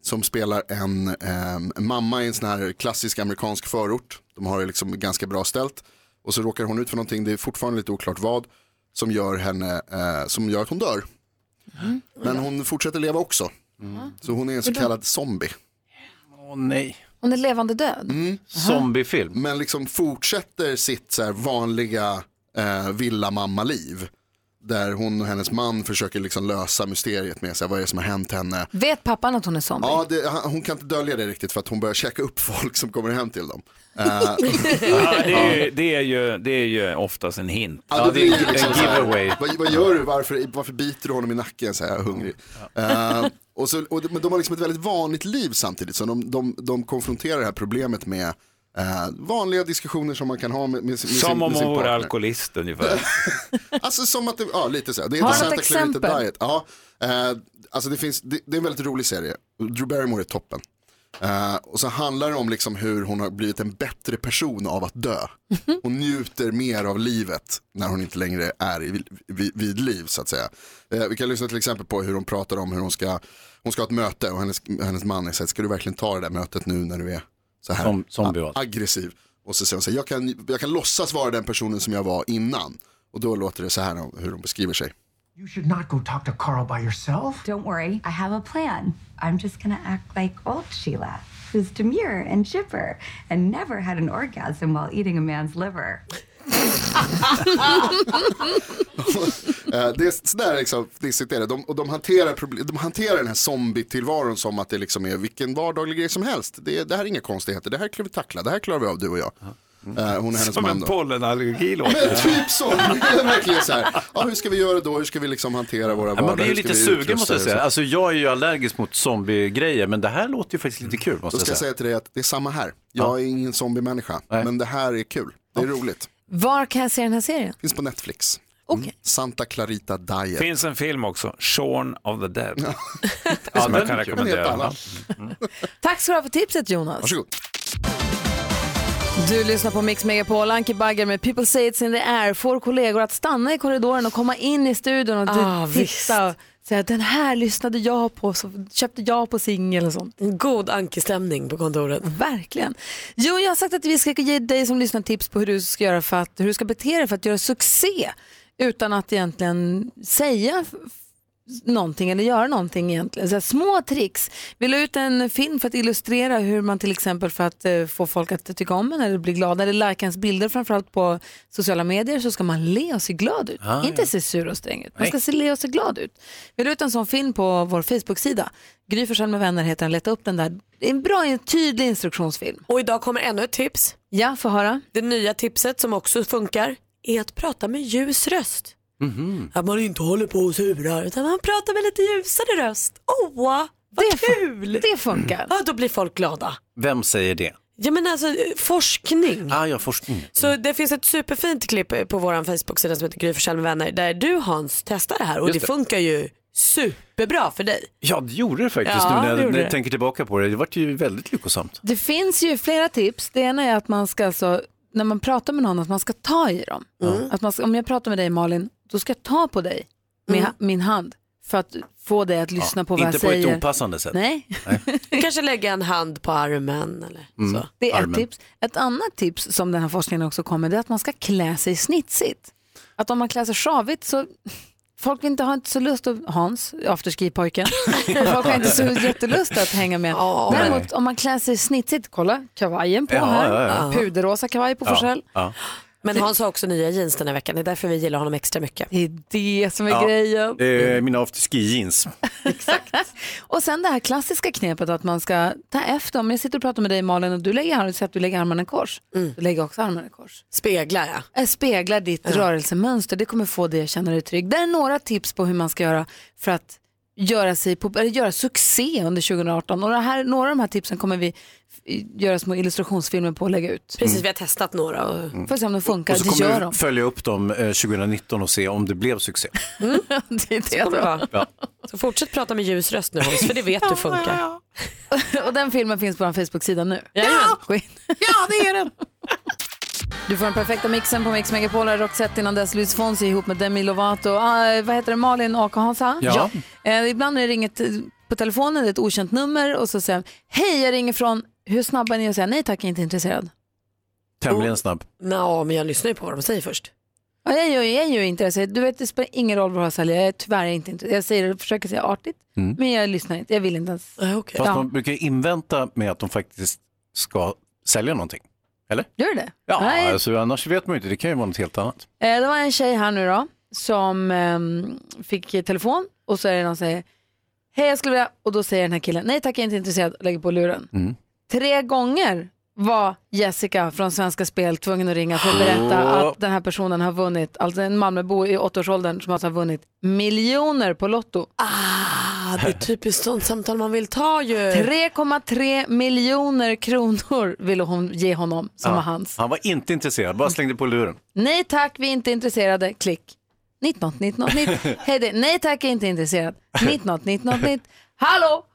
S4: Som spelar en eh, mamma i en sån här klassisk amerikansk förort. De har det liksom ganska bra ställt. Och så råkar hon ut för någonting, det är fortfarande lite oklart vad. Som gör, henne, eh, som gör att hon dör. Men hon fortsätter leva också.
S1: Mm.
S4: Mm. Så hon är en så kallad zombie.
S2: Åh nej.
S1: Hon är levande död.
S4: Mm.
S2: Zombiefilm.
S4: Men liksom fortsätter sitt så här vanliga eh, villamamma-liv. Där hon och hennes man försöker liksom lösa mysteriet med sig. Vad är det som har hänt henne?
S1: Vet pappan att hon är zombie?
S4: Ja, det, han- hon kan inte dölja det riktigt för att hon börjar käka upp folk som kommer hem till dem. Eh,
S19: Ja, det, är ju, det, är ju, det är ju oftast en hint.
S4: Ja, det blir ju liksom
S19: en
S4: så här,
S19: giveaway.
S4: Vad, vad gör du? Varför, varför biter du honom i nacken? Så här, jag är hungrig. Eh, och så, och de, men de har liksom ett väldigt vanligt liv samtidigt. Så de, de, de konfronterar det här problemet med eh, vanliga diskussioner som man kan ha med, med, sin- med sin
S19: Som om
S4: med sin
S19: hon vore
S4: partner.
S19: alkoholist ungefär.
S4: Alltså som att det, ja lite så. här. Det
S1: Har
S4: heter
S1: du
S4: Santa
S1: något
S4: Clarita
S1: exempel?
S4: Diet. Ja, eh, alltså det, finns, det, det är en väldigt rolig serie. Drew Barrymore är toppen. Eh, och så handlar det om liksom hur hon har blivit en bättre person av att dö. Hon njuter mer av livet när hon inte längre är i, vid, vid liv så att säga. Eh, vi kan lyssna till exempel på hur hon pratar om hur hon ska, hon ska ha ett möte och hennes, hennes man är så här, ska du verkligen ta det där mötet nu när du är så här
S2: Som- zombie, va?
S4: a- aggressiv? Och så säger hon så här, jag kan, jag kan låtsas vara den personen som jag var innan. Och då låter det så här om hur hon beskriver sig.
S9: You should not go talk to Carl by yourself.
S22: Don't worry, I have a plan. I'm just gonna act like old Sheila, who's demure and chipper and never had an orgasm while eating a man's liver.
S4: Eh, det är sådär liksom, det är det. De, och de hanterar, proble- de hanterar den här zombie-tillvaron som att det liksom är vilken vardaglig grej som helst. Det, det här är inga konstigheter, det här kan vi tackla, det här klarar vi av du och jag. Eh, hon och hennes
S19: Som
S4: man
S19: en
S4: då.
S19: pollenallergi låter
S4: Men typ så, det är verkligen så här. Ja, hur ska vi göra då, hur ska vi liksom hantera våra vardag?
S2: man blir ju
S4: Hur ska
S2: lite
S4: vi
S2: sugen
S4: utrusta
S2: måste jag
S4: det?
S2: säga. Alltså jag är ju allergisk mot zombiegrejer men det här låter ju faktiskt lite kul
S4: Då
S2: måste
S4: ska
S2: jag
S4: jag
S2: säga.
S4: säga till dig att det är samma här. Jag är ingen zombie-människa, men det här är kul. Det är roligt.
S1: Var kan jag se den här serien?
S4: Finns på Netflix. Mm. Santa Clarita Diet.
S19: Finns en film också, Shaun of the Dead.
S4: Ja,
S19: som
S4: den
S19: jag kan
S4: är kul. Den är helt
S19: rekommendera.
S4: annan.
S1: Tack ska du ha för tipset Jonas.
S4: Varsågod.
S1: Du lyssnar på Mix Megapol, Anki Bagger med People say it's in the air. Får kollegor att stanna i korridoren och komma in i studion och
S3: Ah,
S1: titta och säga den här lyssnade jag på, så köpte jag på singel och sånt.
S3: God ankestämning på kontoret.
S1: Verkligen. Jo, jag har sagt att vi ska ge dig som lyssnar tips på hur du ska göra för att, hur du ska bete dig för att göra succé utan att egentligen säga f- f- någonting eller göra någonting egentligen. Så här, små tricks. Vi la ut en film för att illustrera hur man till exempel för att eh, få folk att tycka om en eller bli glada eller likea ens bilder framförallt på sociala medier så ska man le och se glad ut.
S9: Ah,
S1: Inte
S9: ja.
S1: se sur och sträng ut. Man ska
S9: Nej.
S1: se le och se glad ut. Vi la ut en sån film på vår Facebook-sida. Gry Forssell med vänner heter den. Leta upp den där. Det är en bra, en tydlig instruktionsfilm.
S3: Och idag kommer ännu ett tips.
S1: Ja, få höra.
S3: Det nya tipset som också funkar är att prata med ljus röst. Att man inte håller på och surar utan man pratar med lite ljusare röst. Åh, vad kul!
S1: Det funkar.
S3: Ja, då blir folk glada.
S2: Vem säger det?
S3: Ja men alltså eh, forskning.
S2: Ah, ja, forskning.
S3: Så det finns ett superfint klipp eh, på vår Facebook-sida som heter Gry Forssell med vänner där du Hans testar det här och
S2: Just
S3: det.
S2: det.
S3: funkar ju superbra för dig.
S2: Ja, det gjorde det faktiskt
S3: Ja,
S2: nu
S3: det
S2: när jag,
S3: gjorde
S2: när
S3: det.
S2: jag tänker tillbaka på det. Det vart ju väldigt lyckosamt.
S1: Det finns ju flera tips. Det ena är att man ska alltså, när man pratar med någon, att man ska ta i dem. Mm. Att man ska, om jag pratar med dig Malin, då ska jag ta på dig med
S3: Mm.
S1: ha- min hand för att få dig att lyssna
S2: Ja,
S1: på vad
S2: inte
S1: jag säger.
S2: på ett opassande sätt.
S1: Nej,
S3: Kanske lägga en hand på armen eller
S2: Mm.
S3: så.
S1: det är ett tips. Ett annat tips som den här forskningen också kommer det är att man ska klä sig snitsigt. Att om man klär sig sjavigt så Folk vill inte ha inte så lust att, Hans, afterski-pojken, folk har inte så jättelust att hänga med. Däremot om man klär sig snitsigt, kolla kavajen på
S3: Ja,
S1: här,
S3: ja, ja.
S1: puderrosa kavaj på Forsell.
S3: Men Hans har också nya jeans den här veckan, det är därför vi gillar honom extra mycket.
S1: Det är det som är grejen.
S2: Det är Eh, mina afterski-jeans.
S1: Och sen det här klassiska knepet att man ska ta efter, om jag sitter och pratar med dig Malin och du lägger, arm- så att du lägger armarna i kors, du lägger också armarna i kors.
S3: Mm. Speglar ja.
S1: Jag speglar ditt rörelsemönster, det kommer få dig att känna dig trygg. Det är några tips på hur man ska göra för att göra, sig på, eller göra succé under 2018. Och det här, några av de här tipsen kommer vi f- göra små illustrationsfilmer på och lägga ut. Mm.
S3: Precis, vi har testat några. Och... Mm.
S1: Får se om de funkar,
S2: Och så
S1: det gör
S2: kommer
S1: de.
S2: vi följa upp dem eh, 2019 och se om det blev succé.
S1: Mm. det är det
S3: Så kommer det vara.
S2: Ja.
S3: Så fortsätt prata med ljus röst nu Hans, för det vet du funkar.
S1: Och den filmen finns på vår Facebook-sida nu. Ja, ja det är den. Du får den perfekta mixen på Mix Megapol och Roxette innan dess Luis Fonsi ihop med Demi Lovato. Ah, vad heter det, Malin och Hansa?
S9: Ja.
S1: Eh, ibland när det ringer t- på telefonen, det är ett okänt nummer och så säger de, hej jag ringer från, hur snabba är ni att säga nej tack, jag är inte intresserad?
S2: Tämligen snabb.
S3: Nå, men jag lyssnar ju på vad de säger först.
S1: Ja, jag, jag, jag är ju intresserad, du vet det spelar ingen roll vad jag säljer, jag är tyvärr inte intresserad. Jag säger, försöker säga artigt,
S2: Mm.
S1: men jag lyssnar inte, jag vill inte ens.
S2: Fast
S1: Ja.
S2: man brukar ju invänta med att de faktiskt ska sälja någonting. Eller?
S1: Gör det?
S2: Ja,
S1: Nej.
S2: alltså, annars vet man ju inte. Det kan ju vara något helt annat.
S1: Eh, Det var en tjej här nu då som ehm, fick telefon och så är det någon som säger Hej jag skulle vilja och då säger den här killen nej tack jag är inte intresserad och lägger på luren.
S2: Mm.
S1: Tre gånger var Jessica från Svenska Spel tvungen att ringa för att berätta
S9: Åh.
S1: att den här personen har vunnit, alltså en Malmöbo i åttaårsåldern som alltså har vunnit miljoner på Lotto.
S3: Ah, det är typiskt sånt samtal man vill ta ju.
S1: 3,3 miljoner kronor ville hon ge honom som
S2: Ja.
S1: var hans.
S2: Han var inte intresserad, bara slängde på luren.
S1: Nej tack, vi är inte intresserade. Klick. 19, 19, 19. Hej det. Nej tack, jag är inte intresserad. 19, 19, 19. Hallå!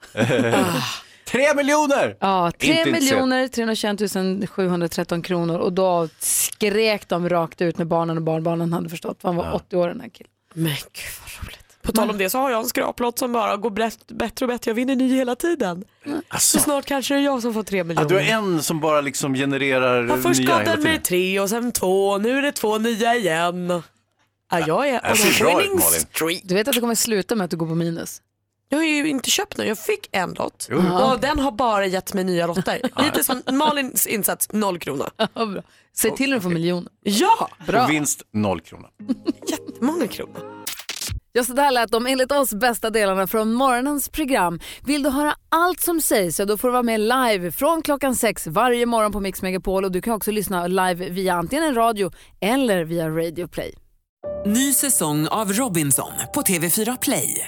S2: Tre miljoner!
S1: Ja,
S2: Inte
S1: 3
S2: intresserad.
S1: miljoner 321 713 kronor och då skrek de rakt ut när barnen och barnbarnen hade förstått. Han var 80 år den här killen.
S3: Men gud vad roligt. På tal om det så har jag en skraplott som bara går brett- bättre och bättre. Jag vinner ny hela tiden. Så snart kanske det är jag som får tre
S2: Alltså. Ja,
S3: miljoner.
S2: du har en som bara liksom genererar
S3: Ja, först
S2: nya
S3: gav
S2: hela
S3: den mig
S2: tiden.
S3: tre och sen två. Nu är det två nya igen. Ja, jag är
S2: det ser Äh, bra ut, Malin.
S1: Du vet att det kommer sluta med att du går på minus.
S3: Jag har ju inte köpt nu. Jag fick en lott
S1: Jo, jo.
S3: och den har bara gett mig nya lotter. Hittills har Malins insats noll kronor.
S1: Säg till när du får miljoner.
S3: Ja!
S1: Bra.
S2: Och vinst noll kronor.
S3: Många kronor.
S1: Ja, så där lät de enligt oss bästa delarna från morgonens program. Vill du höra allt som sägs så då får du vara med live från klockan sex varje morgon på Mix Megapol och du kan också lyssna live via antingen en radio eller via Radio Play.
S11: Ny säsong av Robinson på TV4 Play.